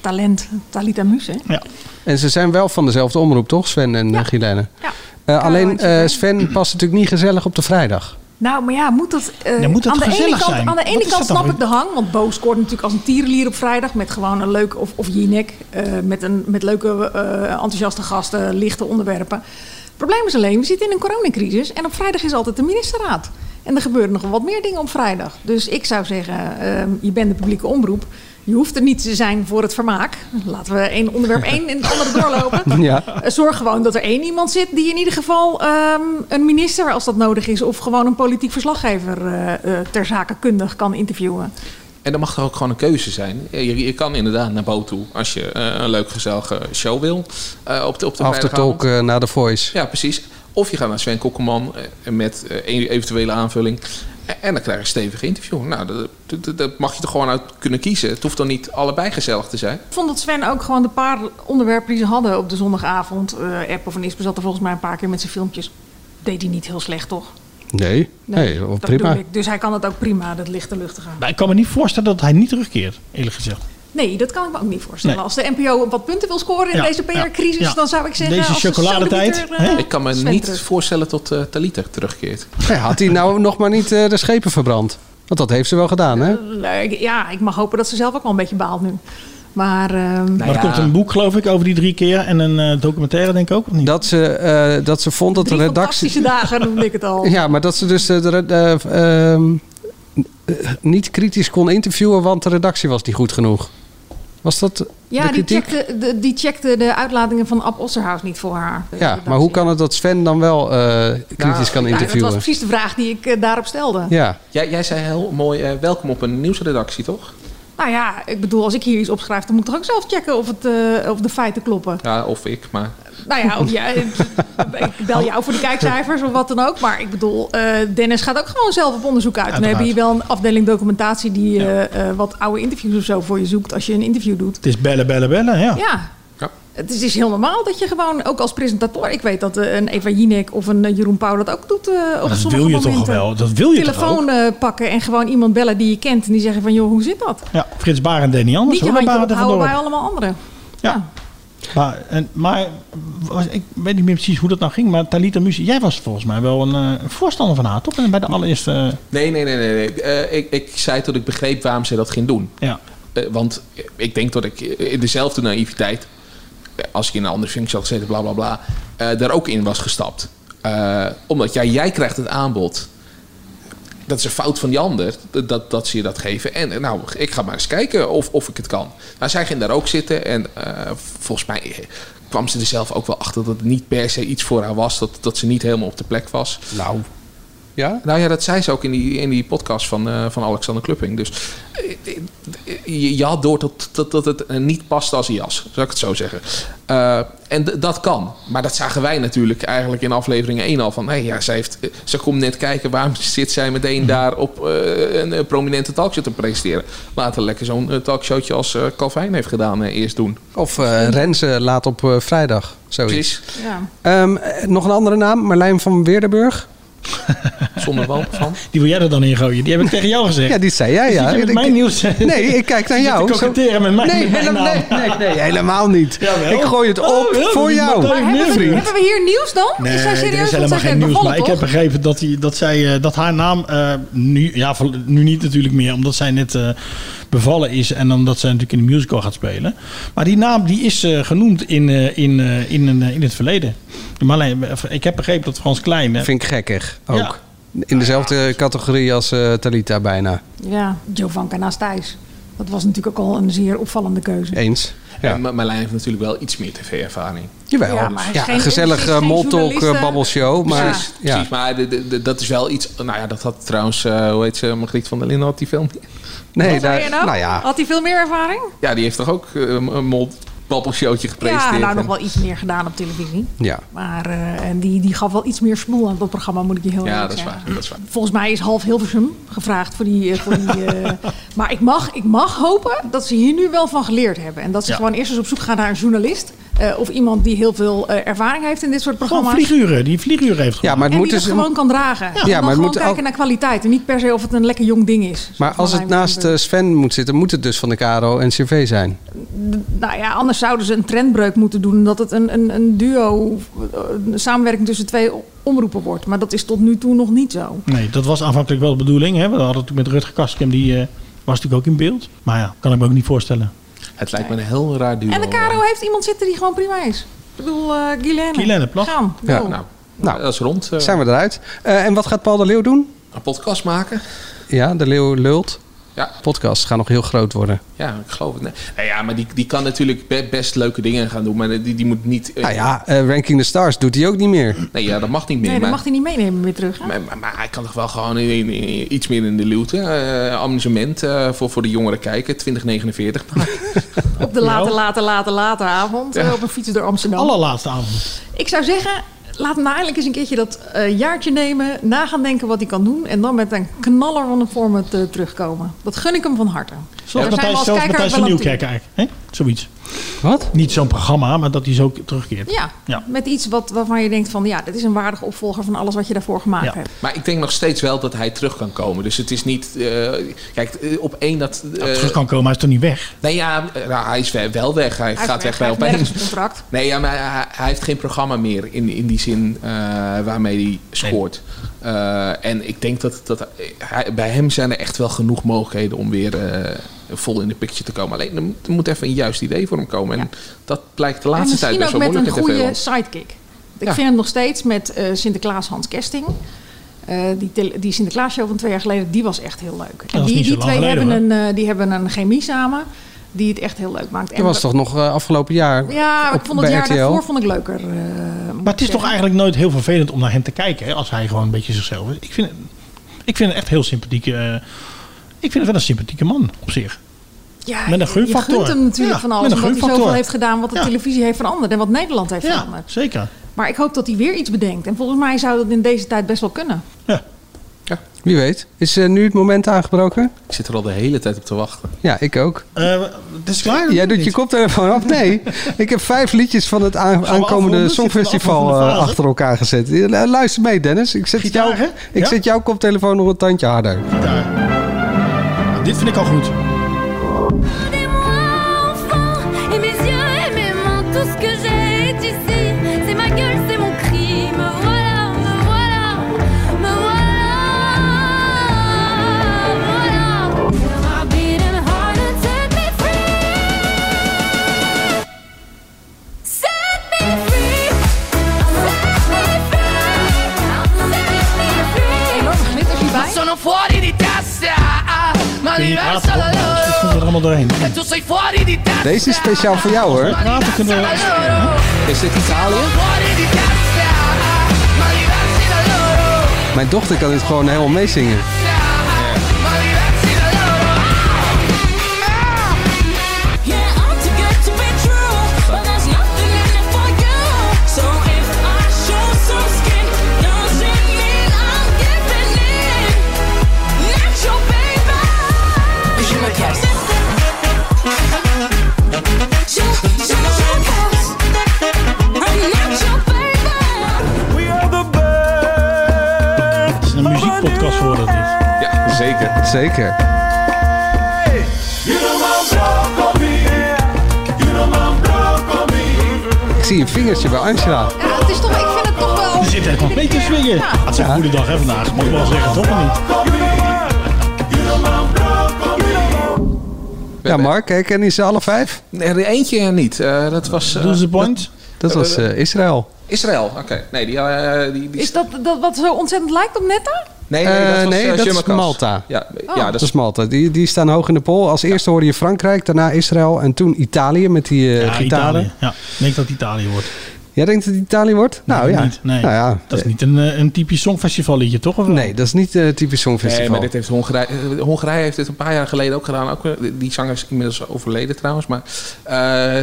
talent Talita Muus. Hè? Ja. En ze zijn wel van dezelfde omroep, toch? Sven en eh, Gilene. Ja. Eh, alleen eh, Sven past natuurlijk niet gezellig op de vrijdag. Nou, maar ja, moet dat, eh, Dan moet dat aan, de ene gezellig kant, zijn. aan de Wat ene is kant dat dan snap ik de hang, want Bo scoort natuurlijk als een tierenlier op vrijdag met gewoon een leuke, of, of Jinek, eh, met, een, met leuke eh, enthousiaste gasten, lichte onderwerpen. Het probleem is alleen, we zitten in een coronacrisis en op vrijdag is altijd de ministerraad. En er gebeuren nog wel wat meer dingen op vrijdag. Dus ik zou zeggen, eh, je bent de publieke omroep. Je hoeft er niet te zijn voor het vermaak. Laten we één onderwerp één en het andere doorlopen. ja. Eh, Zorg gewoon dat er één iemand zit die in ieder geval ehm, een minister, als dat nodig is, of gewoon een politiek verslaggever eh, eh, ter zake kundig kan interviewen. En dan mag er ook gewoon een keuze zijn. Je, je kan inderdaad naar Bo toe als je eh, een leuk gezellige show wil. eh, op de, op de After vrijdagavond. talk eh, naar The Voice. Ja, precies. Of je gaat naar Sven Kokkelman eh, met eh, een eventuele aanvulling. En- En dan krijg je een stevig interview. Nou, dat, dat, dat mag je er gewoon uit kunnen kiezen. Het hoeft dan niet allebei gezellig te zijn. Ik vond dat Sven ook gewoon de paar onderwerpen die ze hadden op de zondagavond. eh Apple van Ispen zat er volgens mij een paar keer met zijn filmpjes. Deed hij niet heel slecht, toch? Nee, nee, wel dat prima. bedoel ik. Dus hij kan het ook prima, dat lichte luchtige. Maar ik kan me niet voorstellen dat hij niet terugkeert, eerlijk gezegd. Nee, dat kan ik me ook niet voorstellen. Nee. Als de NPO wat punten wil scoren in Ja, deze ja, PR-crisis, ja. dan zou ik zeggen... Deze als de chocoladetijd, sodemieter, eh, Ik kan me Sven niet terug. voorstellen dat eh Talita terugkeert. Ja, had hij nou nog maar niet eh, de schepen verbrand? Want dat heeft ze wel gedaan, hè? Leuk. Ja, ik mag hopen dat ze zelf ook wel een beetje baalt nu. Maar, Nou, ehm, maar er komt een boek, geloof ik, over die drie keer. En een eh, documentaire, denk ik ook, of niet? Dat ze, eh, dat ze vond dat drie de fantastische redactie... dagen noemde ik het al. Ja, maar dat ze dus eh, de, red- eh, ehm, eh, niet kritisch kon interviewen, want de redactie was niet goed genoeg. Was dat Ja, de die kritiek? checkte, de, die checkte de uitlatingen van Ab Osserhaus niet voor haar. Ja, maar hoe kan het dat Sven dan wel eh, kritisch kan Ja, dat interviewen? was precies de vraag die ik eh, daarop stelde. Ja. Jij, jij zei heel mooi eh, welkom op een nieuwsredactie, toch? Nou ja, ik bedoel, als ik hier iets opschrijf, dan moet ik toch ook zelf checken of, het, eh, of de feiten kloppen. Ja, of ik, maar... Nou ja, of jij, ik bel jou voor de kijkcijfers of wat dan ook. Maar ik bedoel, eh, Dennis gaat ook gewoon zelf op onderzoek uit. En we Uiteraard. hebben hier wel een afdeling documentatie die eh, eh, wat oude interviews of zo voor je zoekt als je een interview doet. Het is bellen, bellen, bellen, ja. Ja. Ja. Het is, is heel normaal dat je gewoon, ook als presentator... Ik weet dat eh, een Eva Jinek of een eh, Jeroen Pauw dat ook doet eh, op dat sommige wil je toch momenten. wel? Dat wil je toch Telefoon eh, pakken en gewoon iemand bellen die je kent. En die zeggen van, joh, hoe zit dat? Ja, Frits Baar en Danny Anders. Niet je hoor, handje Barend en Van ophouden bij Dorp. allemaal anderen. Maar, en, maar was- ik weet niet meer precies hoe dat nou ging. Maar Talita Muzie, jij was volgens mij wel een eh, voorstander van haar, toch? Bij de allereerste... eh, Nee, nee, nee, nee. nee. Eh, ik, ik zei dat ik begreep waarom ze dat ging doen. Ja. Eh, want ik denk dat ik eh, in dezelfde naïviteit, eh, als ik in een andere functie had gezeten, bla bla bla, eh, daar ook in was gestapt. Eh, omdat ja, jij krijgt het aanbod. Dat is een fout van die ander, dat- dat, dat ze je dat geven. En eh, nou, ik ga maar eens kijken of, of ik het kan. Nou, zij ging daar ook zitten en eh, volgens mij eh, kwam ze er zelf ook wel achter dat het niet per se iets voor haar was. Dat, dat ze niet helemaal op de plek was. Nou, ja? Nou ja, dat zei ze ook in die, in die podcast van, eh, van Alexander Klupping. Dus eh, eh, je, je had door dat, dat, dat het eh, niet paste als een jas, zou ik het zo zeggen. Eh, en d- dat kan. Maar dat zagen wij natuurlijk eigenlijk in aflevering 1 al. Van, hey, ja, zij heeft, eh, ze komt net kijken, waarom zit zij meteen daar op eh, een eh, prominente talkshow te presenteren? Laten we lekker zo'n eh, talkshowtje als eh, Calvin heeft gedaan eh, eerst doen. Of eh Renze laat op eh, vrijdag, zoiets. Precies. Ja. Ehm, eh, nog een andere naam, Marlijn van Weerdenburg. Zonder wel van. Die wil jij er dan in gooien? Die heb ik tegen jou gezegd. Ja, die zei jij, Dus ja. je bent Ik- mijn nieuws. Nee, ik kijk naar Je jou. zit te Zo- koketteren met mij. Nee, met mijn helemaal- naam. nee, nee, nee, helemaal niet. Jawel. Ik gooi het op Oh, ja, voor dat jou. mag Maar ik hebben niet, we- vriend. Hebben we hier nieuws dan? Nee, is zij er serieus? is Want zij helemaal zijn geen nieuws. begonnen, Maar ik heb toch? begrepen dat, die, dat, zij, eh, dat haar naam eh, nu, ja, voor- nu niet natuurlijk meer, omdat zij net eh, bevallen is en omdat zij natuurlijk in de musical gaat spelen. Maar die naam die is eh, genoemd in, eh, in, eh, in, een, eh, in het verleden. Maar alleen, eh, ik heb begrepen dat Frans Klein. eh, Vind ik gekkig ook. Ja. In dezelfde categorie als eh Talita bijna. Ja, Jovanka naast Thijs. Dat was natuurlijk ook al een zeer opvallende keuze. Eens. En eh, Ma- Marlijn heeft natuurlijk wel iets meer tv-ervaring. Jawel. Ja, maar hij is Ja, geen- gezellig, hij is eh, geen Mol Talk, eh, journalist, eh. babbelshow, maar- precies, ja. precies, maar de- de- de- dat is wel iets... Nou ja, dat had trouwens... eh, hoe heet ze? Margriet van der Linden had die film. Nee, Zei je nou? Oh. Had hij veel meer ervaring? Ja, die heeft toch ook eh, een Mol babbelshowtje gepresenteerd? Ja, nou en- nog wel iets meer gedaan op televisie. Ja. Maar eh, en die, die gaf wel iets meer smoel aan dat programma, moet ik je heel Ja, eerlijk dat is zeggen. waar, dat is waar. Volgens mij is half Hilversum gevraagd voor die... eh, voor die eh, maar ik mag, ik mag hopen dat ze hier nu wel van geleerd hebben. En dat ze Ja. gewoon eerst eens op zoek gaan naar een journalist... eh, of iemand die heel veel eh, ervaring heeft in dit soort Gewoon programma's. vlieguren. Die vlieguren heeft Ja, maar het en moet die dus... dat gewoon kan dragen. Ja, en maar dan het gewoon moet kijken ook- naar kwaliteit. En niet per se of het een lekker jong ding is. Maar als het naast eh, Sven moet zitten, moet het dus van de KRO en CV zijn. D- Nou ja, anders zouden ze een trendbreuk moeten doen. Dat het een, een, een duo, eh, een samenwerking tussen twee omroepen wordt. Maar dat is tot nu toe nog niet zo. Nee, dat was aanvankelijk wel de bedoeling. Hè? We hadden het met Rutger Kastkem, die eh, was natuurlijk ook in beeld. Maar ja, kan ik me ook niet voorstellen. Het lijkt me een heel raar duo. eh. En de Caro heeft iemand zitten die gewoon prima is. Ik bedoel, eh Guylaine. Guylaine Plag. Gaan. Ja. Go. Nou, dat is rond. eh, Zijn we eruit. Eh, en wat gaat Paul de Leeuw doen? Een podcast maken. Ja, de Leeuw lult. Ja. Podcasts gaan nog heel groot worden. Ja, ik geloof het. Nee. Nou ja, maar die, die kan natuurlijk be- best leuke dingen gaan doen. Maar die, die moet niet... eh, Nou ja, eh, Ranking the Stars doet hij ook niet meer. Nee, ja, dat mag niet meer. Nee, dat maar- mag hij niet meenemen weer terug. hè? Maar, maar, maar hij kan toch wel gewoon in, in- in- iets meer in de luwte. eh amusement eh, voor, voor de jongeren kijken. 2049. Op de late, late, late, late avond. eh, Op een fiets door Amsterdam. Allerlaatste avond. Ik zou zeggen, laat hem nou eindelijk eens een keertje dat eh, jaartje nemen. Na gaan denken wat hij kan doen. En dan met een knaller van een format eh, terugkomen. Dat gun ik hem van harte. Zoals Daar zijn Matthijs, we als zelfs kijker Matthijs wel van aan toe. Nieuwkerk eigenlijk. Hè? Zoiets. Wat? Niet zo'n programma, maar dat hij zo terugkeert. Ja, Ja. met iets wat, waarvan je denkt van ja, dit is een waardige opvolger van alles wat je daarvoor gemaakt hebt. Maar ik denk nog steeds wel dat hij terug kan komen. Dus het is niet... eh, kijk, eh, op één dat... eh, Terug kan komen, maar is toch niet weg? Nee, ja, eh, nou, hij is we- wel weg. Hij, gaat weg bij Hij heeft opeens. een contract. Nee, ja, maar hij, hij heeft geen programma meer in, in die zin eh, waarmee hij scoort. Eh, en ik denk dat, dat hij- bij hem zijn er echt wel genoeg mogelijkheden om weer eh, vol in de picture te komen. Alleen er moet, er moet even een juist idee voor hem komen. En dat blijkt de En laatste tijd misschien best ook wel met een moeilijk in goede tv sidekick. Ik Ja. vind hem nog steeds met eh, Sinterklaas Hans Kesting. Eh, die, tele- die Sinterklaasshow van twee jaar geleden, die was echt heel leuk. is die, niet zo die lang twee geleden, hebben, een, eh, die hebben een chemie samen die het echt heel leuk maakt. Dat was toch nog eh, afgelopen jaar Ja, op, ik vond het bij jaar RTL? daarvoor vond ik leuker. eh, moet Maar het is ik toch zeggen. eigenlijk nooit heel vervelend om naar hem te kijken, hè, als hij gewoon een beetje zichzelf is. Ik vind, ik vind het echt heel sympathiek. eh, ik vind het wel een sympathieke man op zich. Ja, met een je- gunfactor. Je gunt hem natuurlijk Ja, van met alles, een omdat hij zoveel gunfactor. heeft gedaan wat de televisie heeft veranderd en wat Nederland heeft Ja, veranderd. zeker. Maar ik hoop dat hij weer iets bedenkt. En volgens mij zou dat in deze tijd best wel kunnen. Wie weet. Is eh, nu het moment aangebroken? Ik zit er al de hele tijd op te wachten. Ja, ik ook. Eh, het is klaar. Jij doet je koptelefoon af? Nee. ik heb vijf liedjes van het aan- afronden? aankomende Zitten we Songfestival afronden van de eh, fase? achter elkaar gezet. Eh, Luister mee, Dennis. Ik zet, jou, ik Ja? zet jouw koptelefoon nog een tandje harder. Nou, Dit vind ik al goed. Et mes yeux et mes mains, tout ce que j'ai est ici. C'est ma gueule, c'est mon cri. Me voilà, me voilà, me voilà, voilà. Feel my beating heart and set me free. Set me free. Sono fuori di testa, ah, ma Kun je diverso praten? da Oh, loro. Soms komt het er allemaal doorheen. E tu sei fuori di testa. Deze is speciaal voor jou hoor. Is dit Italië? Mijn dochter kan dit gewoon helemaal meezingen. Yeah, I'm too good to be true, but there's nothing in it for you. So if I show some skin, doesn't mean I'm giving in. Not your baby. Je me casse. Je, je, je casse. I'm not your baby. We are the Het is een muziekpodcast voor dat dit. Ja, zeker. Zeker. Ik zie een vingertje bij Angela. Ja, het is toch, ik vind het toch wel... Je zit echt nog mee te swingen. Het is een goede dag hè, vandaag. Moet ik wel zeggen, toch of niet? Ja, Mark, hè, kennen ze alle vijf? Nee, de eentje niet. Eh, dat was... Doen ze Point? Dat was eh, Israël. Israël, oké. Nee, die, eh, die, die Is dat, dat wat zo ontzettend lijkt op Netta? Nee, nee, dat Eh, was, eh, nee, dat is Jumacas. Malta. Ja, eh, Oh. ja, dat dat is Malta. Die, die staan hoog in de poll. Als eerste hoorde je Frankrijk, daarna Israël en toen Italië met die eh, Ja, gitaren. Italië. Ja, ik denk dat het Italië wordt. Jij denkt dat het Italië wordt? Nou ik ja. niet. Nee. Nou ja. Dat is niet een, eh, een typisch songfestival liedje, toch? Of wel? Nee, dat is niet eh, typisch songfestival. Nee, maar dit heeft Hongarije, eh, Hongarije heeft dit een paar jaar geleden ook gedaan. Ook, eh, die zanger is inmiddels overleden trouwens. Maar,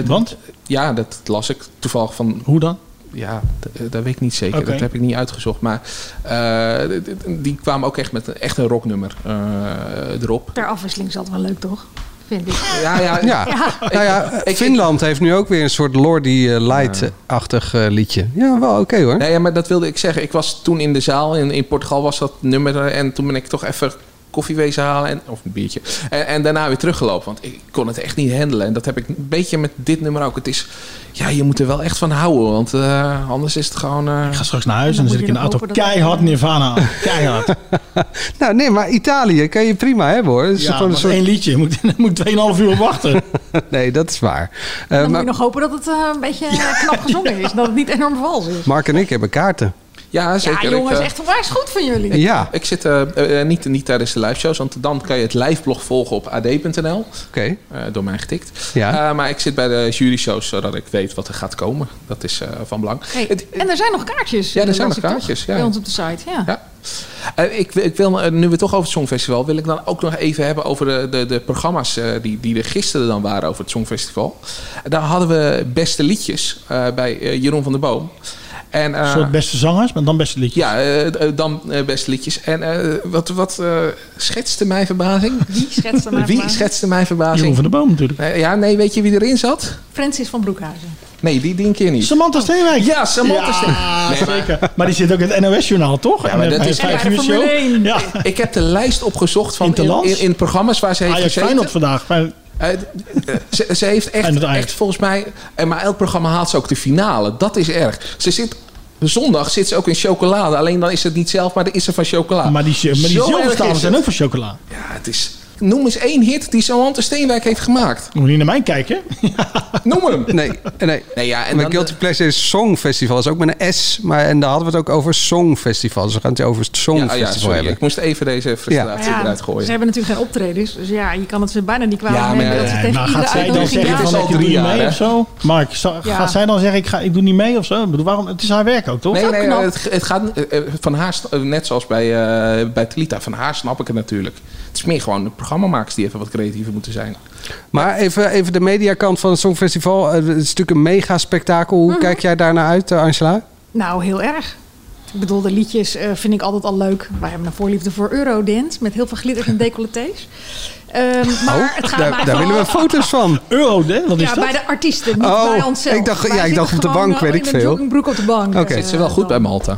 Want? Ja, dat las ik toevallig van... Hoe dan? Ja, d- eh, dat weet ik niet zeker. Oké. Dat heb ik niet uitgezocht. Maar eh, d- d- die kwamen ook echt met een, echt een rocknummer eh, erop. Ter afwisseling is dat wel leuk, toch? Vind ik. Ja, ja. Ja. nou ja, Finland heeft nu ook weer een soort Lordy eh, Light-achtig eh, liedje. Ja, wel oké hoor. Nee, ja, maar dat wilde ik zeggen. Ik was toen in de zaal. In, in Portugal was dat nummer. er. En toen ben ik toch even koffie wezen halen. En, of een biertje. En, en daarna weer teruggelopen. Want ik kon het echt niet handelen. En dat heb ik een beetje met dit nummer ook. Het is... Ja, je moet er wel echt van houden. Want eh, anders is het gewoon... Ik ga straks naar huis en dan zit ik in de auto keihard Nirvana. aan. Keihard. nou nee, maar Italië kan je prima hebben hoor. Het is Ja, gewoon een maar soort... één liedje. Je moet, je moet 2,5 uur op wachten. nee, dat is waar. Eh, Dan moet maar je nog hopen dat het eh, een beetje eh, knap gezongen is. Dat het niet enorm vals is. Mark en ik hebben kaarten. Ja, zeker. Ja, Ik, jongens, eh, echt onwijs goed van jullie. Ik, ik zit eh, eh, eh, niet, niet tijdens de live shows, want dan kan je het liveblog volgen op ad.nl. Oké. eh, door mij getikt. Ja. Eh, maar ik zit bij de jury shows zodat ik weet wat er gaat komen. Dat is eh, van belang. Hey, en er zijn nog kaartjes. Ja, er eh, zijn las nog ik toch? kaartjes, ja. Bij ons op de site, ja. Eh, ik, wil- ik wil, eh, nu we toch over het Songfestival, wil ik dan ook nog even hebben over de, de, de programma's eh, die, die er gisteren dan waren over het Songfestival. Eh, Daar hadden we beste liedjes eh, bij eh, Jeroen van der Boom. En, eh, Een soort beste zangers, maar dan beste liedjes. ja, eh, eh, dan eh, beste liedjes. En eh, wat, wat eh, schetste mijn verbazing? Wie schetste mijn Wie verbazing? schetste mijn verbazing? Jeroen van der Boom natuurlijk. Nee, ja, nee, weet je wie erin zat? Francis van Broekhuizen. Nee, die, die een keer niet. Samantha Steenwijk. Ja, Samantha Ja, Steenwijk. Nee, maar- zeker. Maar, die zit ook in het NOS-journaal, toch? Ja, maar En eh, dat bij is- de vijf En bij de uur Formule show. één. Ja. Ik heb de lijst opgezocht van in, Interlands? in, in programma's waar ze heeft Ajax gezeten. Feyenoord vandaag. Eh, ze, ze heeft echt, echt volgens mij... En maar elk programma haalt ze ook de finale. Dat is erg. Ze zit... Zondag zit ze ook in chocolade. Alleen dan is het niet zelf, maar dan is ze van chocolade. Maar die, maar die Ah. Zo erg zilverstalen is zijn het. ook van chocola. Ja, het is... Noem eens één hit die Samantha Steenwijk heeft gemaakt. Moet je niet naar mij kijken? Noem hem. Nee, eh, nee. nee ja, en Mijn dan eh, Guilty Pleasure is Songfestival. Dat is ook met een S. Maar, en daar hadden we het ook over Songfestival. Dus we gaan het over het Ja, oh Songfestival ja, sorry, hebben. ik moest even deze frustratie Maar ja, eruit Ze gooien. hebben natuurlijk geen optredens. Dus ja, je kan het ze bijna niet kwalijk Ja, maar nemen. dat ja, ze ja, tegen nou iedere gaat zij dan uitnodiging ja zeggen van, zeggen. ik Ik doe Drie niet jaar, mee hè? of zo? Mark, za- Ja. gaat zij dan zeggen, ik, ga, ik doe niet mee of zo? Ik bedoel, waarom, het is haar werk ook, toch? Nee, nee, het, het gaat eh, eh, van haar, sta- eh, net zoals bij, eh, bij Talita, van haar snap ik het natuurlijk. Het is meer gewoon de programmamakers die even wat creatiever moeten zijn. Maar even, even de mediakant van het Songfestival. Eh, Het is natuurlijk een mega spektakel. Mhm. Hoe kijk jij daarnaar uit, eh, Angela? Nou, heel erg. Ik bedoel, de liedjes eh, vind ik altijd al leuk. Wij hebben een voorliefde voor Eurodance. Met heel veel glitters en decolletés. Oh, Ehm, maar het gaat mij Oh, daar, daar vooral- willen we foto's van. Euro, hè? Wat ja, bij de artiesten, niet Oh, bij onszelf. ik dacht- Wij ja, ik dacht zitten op de gewoon, bank, eh, weet ik in veel. een joggingbroek op de bank. Oké. eh, Zit ze wel Goed bij Malta.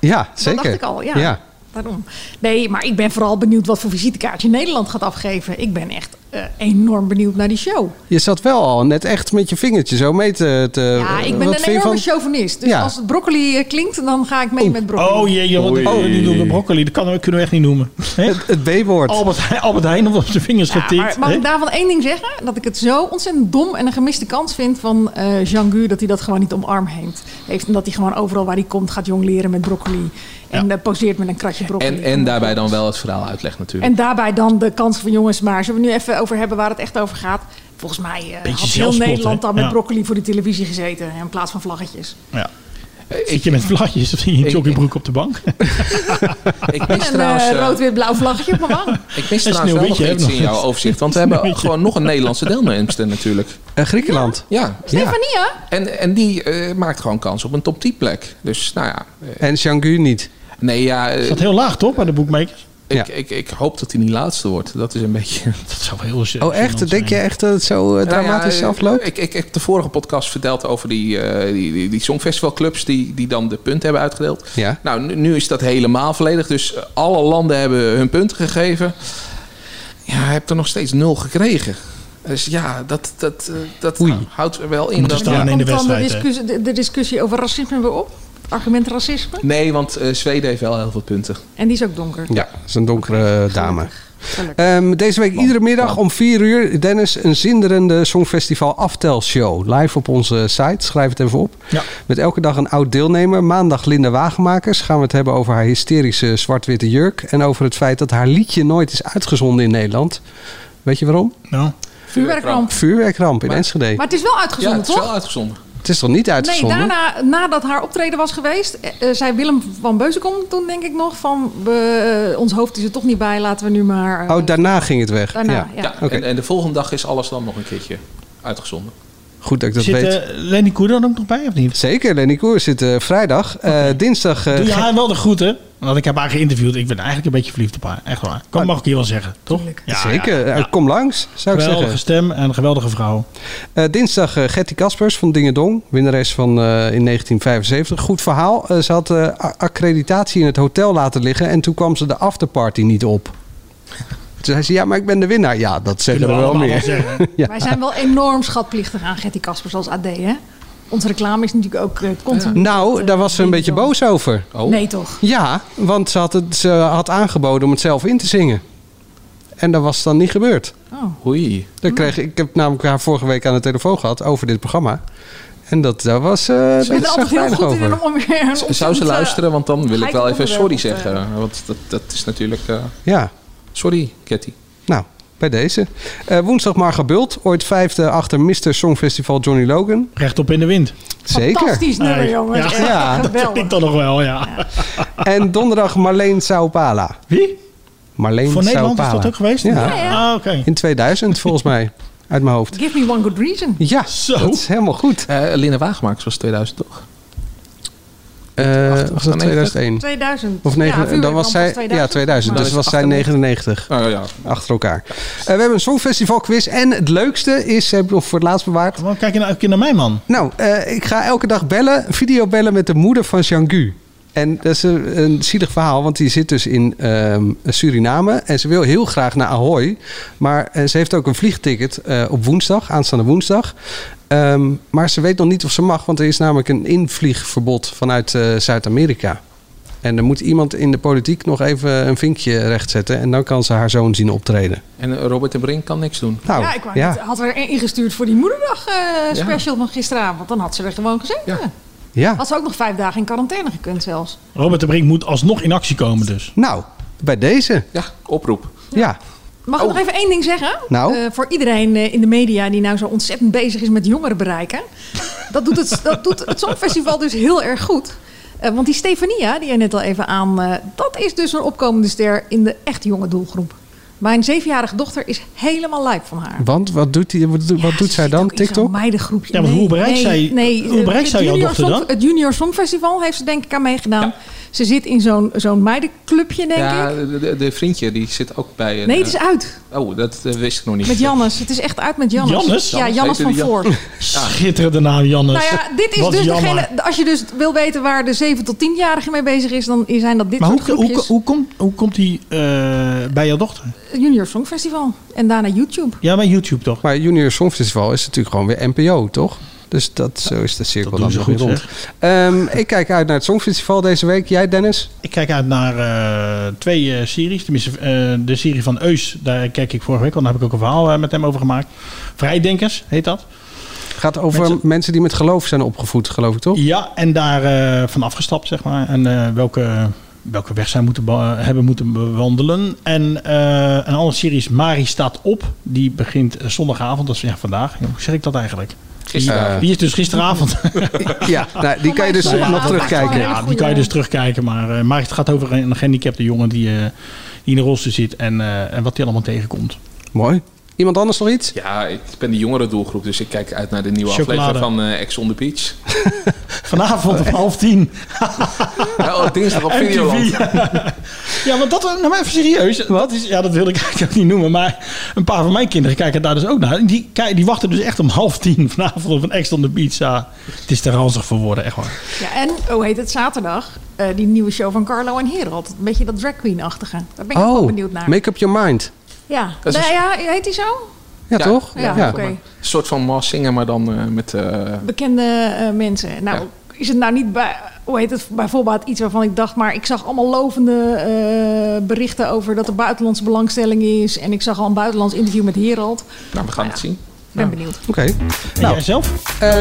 Ja, Dat zeker. dacht ik al, ja. Daarom. Nee, maar ik ben vooral benieuwd wat voor visitekaartje Nederland gaat afgeven. Ik ben echt eh, enorm benieuwd naar die show. Je zat wel al net echt met je vingertje zo mee te... te Ja, ik ben Eh, wat een vind je enorme van- chauvinist. Dus Ja. als het broccoli eh, klinkt, dan ga ik mee met broccoli. Oh jee, joh, wat oh, die noemen broccoli. Dat kan, kunnen we echt niet noemen. Het, B-woord. Oh. Albert, Heijn- Albert Heijn op zijn vingers Ja, getikt. maar mag hè? ik daarvan één ding zeggen? Dat ik het zo ontzettend dom en een gemiste kans vind van eh jean Gu dat hij dat gewoon niet omarm heeft. heeft. En dat hij gewoon overal waar hij komt gaat jongleren met broccoli. En eh, poseert met een kratje broccoli. En, en daarbij dan wel het verhaal uitleg natuurlijk. En daarbij dan de kansen van jongens. Maar zullen we nu even over hebben waar het echt over gaat? Volgens mij eh, had Beetje heel zelfspot, Nederland hè? dan met Ja. broccoli voor de televisie gezeten. hè, In plaats van vlaggetjes. Ja. Zit je met vlagjes of in je joggingbroek op de bank? ik mis Een trouwens, eh, rood-wit-blauw vlaggetje op mijn wang. ik mis Een trouwens wel nog sneeuwwitje iets heb in nog. jouw overzicht. Want we hebben gewoon nog een Nederlandse deelnemster natuurlijk. Eh, Griekenland. Ja. Stefanie, hè? En, en die eh, maakt gewoon kans op een top 10 plek. Dus nou ja. En Shangu niet. Nee, ja. eh, Staat heel laag, toch, bij de boekmakers? ik, ik, ik hoop dat hij niet laatste wordt. Dat is een beetje... Dat zou heel Oh echt? Denk je echt dat het zo eh, Nou ja, dramatisch eh, afloopt? Ik, ik heb de vorige podcast verteld over die, eh die, die, die songfestivalclubs die, die dan de punten hebben uitgedeeld. Ja. Nou, nu, nu is dat helemaal volledig. Dus eh, alle landen hebben hun punten gegeven. Ja, je hebt er nog steeds nul gekregen. Dus ja, dat, dat, eh, dat houdt er wel in. Moet er dat- staan in de Komt dan de wedstrijd, hè? discussie, de, de discussie over racisme weer op? Het argument racisme? Nee, want eh, Zweden heeft wel heel veel punten. En die is ook donker. Ja, dat is een donkere eh, dame. Ehm, deze week iedere middag om 4 uur, Dennis, een zinderende Songfestival aftelshow. Live op onze site, schrijf het even op. Met elke dag een oud deelnemer. Maandag Linda Wagenmakers. Gaan we het hebben over haar hysterische zwart-witte jurk. En over het feit dat haar liedje nooit is uitgezonden in Nederland. Weet je waarom? Nou. Vuurwerkramp. Vuurwerkramp in Enschede. Maar het is wel uitgezonden, Ja, het is toch? wel uitgezonden. Het is toch niet Nee, uitgezonden? daarna, nadat haar optreden was geweest, eh, eh, zei Willem van Beuzenkom toen denk ik nog van we, eh, ons hoofd is er toch niet bij, laten we nu maar. eh, Oh, daarna ging het weg. Daarna, ja. ja. Oké. en, en de volgende dag is alles dan nog een keertje uitgezonden. Goed dat ik dat Zit, weet. eh, Lenny Koer dan ook nog bij, of niet? Zeker, Lenny Koer zit eh, vrijdag. Eh, dinsdag... eh, Doe je ge- haar wel de groeten? Want ik heb haar geïnterviewd. Ik ben eigenlijk een beetje verliefd op haar. Echt waar. Ah, Kan, mag ik hier wel zeggen, toch? Ja, Zeker, ja. Eh, kom langs, zou ik Geweldige zeggen. stem en een geweldige vrouw. Eh, dinsdag eh, Gertie Kaspers van Dingedong, winnares van eh, in 1975. Goed verhaal. Eh, ze had eh, a- accreditatie in het hotel laten liggen en toen kwam ze de afterparty niet op. Toen zei ze, ja, maar ik ben de winnaar. Ja, dat zeggen we Kunnen we wel allemaal meer. wel zeggen. Ja. Wij zijn wel enorm schatplichtig aan Gertie Kaspers als AD, hè? Onze reclame is natuurlijk ook eh, continu. Nou, daar was ze een beetje boos over. Nee, toch? Ja, want ze had, het, ze had aangeboden om het zelf in te zingen. En dat was dan niet gebeurd. Oh. Oei. Dat kreeg, ik heb namelijk haar vorige week aan de telefoon gehad over dit programma. En dat, daar was eh Ze zijn er altijd heel goed in om weer een Zou ontzettend, ze eh, luisteren? Want dan wil ik wel gelijk even sorry onderwerp op, eh, zeggen. Want dat, dat is natuurlijk... eh, Ja. Sorry, Ketty. Nou, bij deze. Eh, woensdag Marga Bult, ooit vijfde achter Mr. Songfestival Johnny Logan. Rechtop in de wind. Zeker. eh, Fantastisch nummer, Nee. jongens. Ja. Echt Ja. Dat vind ik dan nog wel, ja. En donderdag Marleen Saupala. Wie? Marleen Voor Nederland is Saupala. dat ook geweest? Ja. Ja, ja. Ah, oké. In 2000 volgens mij, uit mijn hoofd. Give me one good reason. Ja, dat is helemaal goed. Linda Waagmakers Eh, was 2000 toch? Eh, was dat 2001? 2000. Of Ja, negen, dan vuurwerkramp was zij, ja, 2000. Dus Maar- was zij 99. Oh, ja. Achter elkaar. Eh, we hebben een Songfestival quiz. En het leukste is, heb ik nog voor het laatst bewaard. Waarom kijk je nou elke keer naar mij, man? Nou, eh, ik ga elke dag bellen, video bellen met de moeder van Jean-Gu. En dat is een, een zielig verhaal, want die zit dus in ehm, Suriname. En ze wil heel graag naar Ahoy. Maar eh, ze heeft ook een vliegticket eh, op woensdag, aanstaande woensdag. Ehm, maar ze weet nog niet of ze mag, want er is namelijk een invliegverbod vanuit eh, Zuid-Amerika. En er moet iemand in de politiek nog even een vinkje rechtzetten. En dan kan ze haar zoon zien optreden. En eh, Robert de Brink kan niks doen. Nou, ja, ik wou net- had er één ingestuurd voor die moederdag eh, special van gisteravond. Dan had ze er gewoon gezeten. Ja. Had ze ook nog vijf dagen in quarantaine gekund zelfs. Robert de Brink moet alsnog in actie komen dus. Nou, bij deze. Ja, oproep. Ja. Mag ik nog even één ding zeggen? Oh. Nou? Eh, voor iedereen eh, in de media die nou zo ontzettend bezig is met jongeren bereiken. dat, doet het, dat doet het Songfestival dus heel erg goed. Eh, want die Stefania, die je net al even aan... eh, dat is dus een opkomende ster in de echt jonge doelgroep. Mijn zevenjarige dochter is helemaal lijp van haar. Want wat doet, die, wat doet, wat doet zij dan? TikTok? Meidengroepje. Ja, maar hoe bereikt zij- hoe eh, bereikt het zij jouw Junior dochter Song- dan? Het Junior Songfestival heeft ze denk ik aan meegedaan. Ze zit in zo'n zo'n meidenclubje, denk ik. Ja, de, de- de vriendje die zit ook bij... een, Nee, het is eh, uit. Oh, dat eh, wist ik nog niet. Met Jannes. Het is echt uit met Jannes. Jannes? Ja, Jannes Jannes van heette die Voor. Jan- Schitterende naam, Jannes. Nou ja, dit is Wat dus jammer. degene... Als je dus wil weten waar de 7 tot 10-jarige mee bezig is... dan zijn dat dit Maar hoe, soort hoe, groepjes. hoe, komt, hoe komt die eh, bij jouw dochter? Junior Songfestival. En daarna YouTube. Ja, maar YouTube toch? Maar Junior Songfestival is natuurlijk gewoon weer NPO, toch? Dus dat, zo is de cirkel dan ze nog weer goed, rond. Ehm, ik kijk uit naar het Songfestival deze week. Jij, Dennis? Ik kijk uit naar eh, twee eh, series. Tenminste, eh, de serie van Eus, daar kijk ik vorige week. Want daar heb ik ook een verhaal eh, met hem over gemaakt. Vrijdenkers heet dat. Gaat over mensen, die met geloof zijn opgevoed, geloof ik toch? Ja, en daar eh, van afgestapt, zeg maar. En eh, welke, welke weg zij moeten be- hebben moeten bewandelen. En eh, een andere serie is Mari staat op. Die begint eh, zondagavond, dat is ja, vandaag. Hoe zeg ik dat eigenlijk? Gisteravond. Die, die is dus gisteravond. Ja, nou, die kan je dus nog terugkijken. Ja, die kan je dus terugkijken. Maar, eh, maar het gaat over een een gehandicapte jongen die, eh, die in een rolstoel zit. En, eh, en wat hij allemaal tegenkomt. Mooi. Iemand anders nog iets? Ja, ik ben de jongere doelgroep, dus ik kijk uit naar de nieuwe Chocolade. aflevering van eh Ex on the Beach. Vanavond om half tien. ja, oh, dinsdag op MTV. Videoland. Ja, want dat, nou maar even serieus. Dat is, ja, dat wil ik eigenlijk ook niet noemen. Maar een paar van mijn kinderen kijken daar dus ook naar. Die, kijk- die wachten dus echt om half tien vanavond op een Ex on the Beach. Ja, het is te ranzig voor woorden, echt waar. Ja, en, hoe heet het, zaterdag... eh, die nieuwe show van Carlo en Herald. Een beetje dat drag queen-achtige. Daar ben ik ook wel oh, benieuwd naar. Make Up Your Mind. Ja, Dat is nou een- ja, heet die zo? Ja, toch? Ja, oké. Een soort van Mars Singer, maar dan eh, met... eh, Bekende eh, mensen. Nou, is het nou niet bij, hoe heet het, bijvoorbeeld iets waarvan ik dacht, maar ik zag allemaal lovende eh, berichten over dat er buitenlandse belangstelling is. En ik zag al een buitenlands interview met Herald. Nou, we Ah, gaan het zien. Ik ben benieuwd. Oké. Nou, zelf? Eh,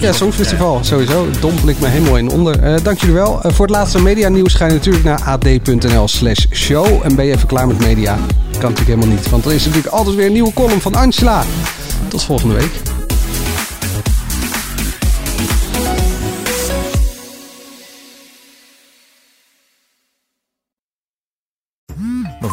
Ja, Songfestival sowieso. Dompel ik me helemaal in onder. Eh, dank jullie wel. Eh, voor het laatste medianieuws ga je natuurlijk naar ad.nl slash show. En ben je even klaar met media? Kan natuurlijk helemaal niet. Want er is natuurlijk altijd weer een nieuwe column van Angela. Tot volgende week. We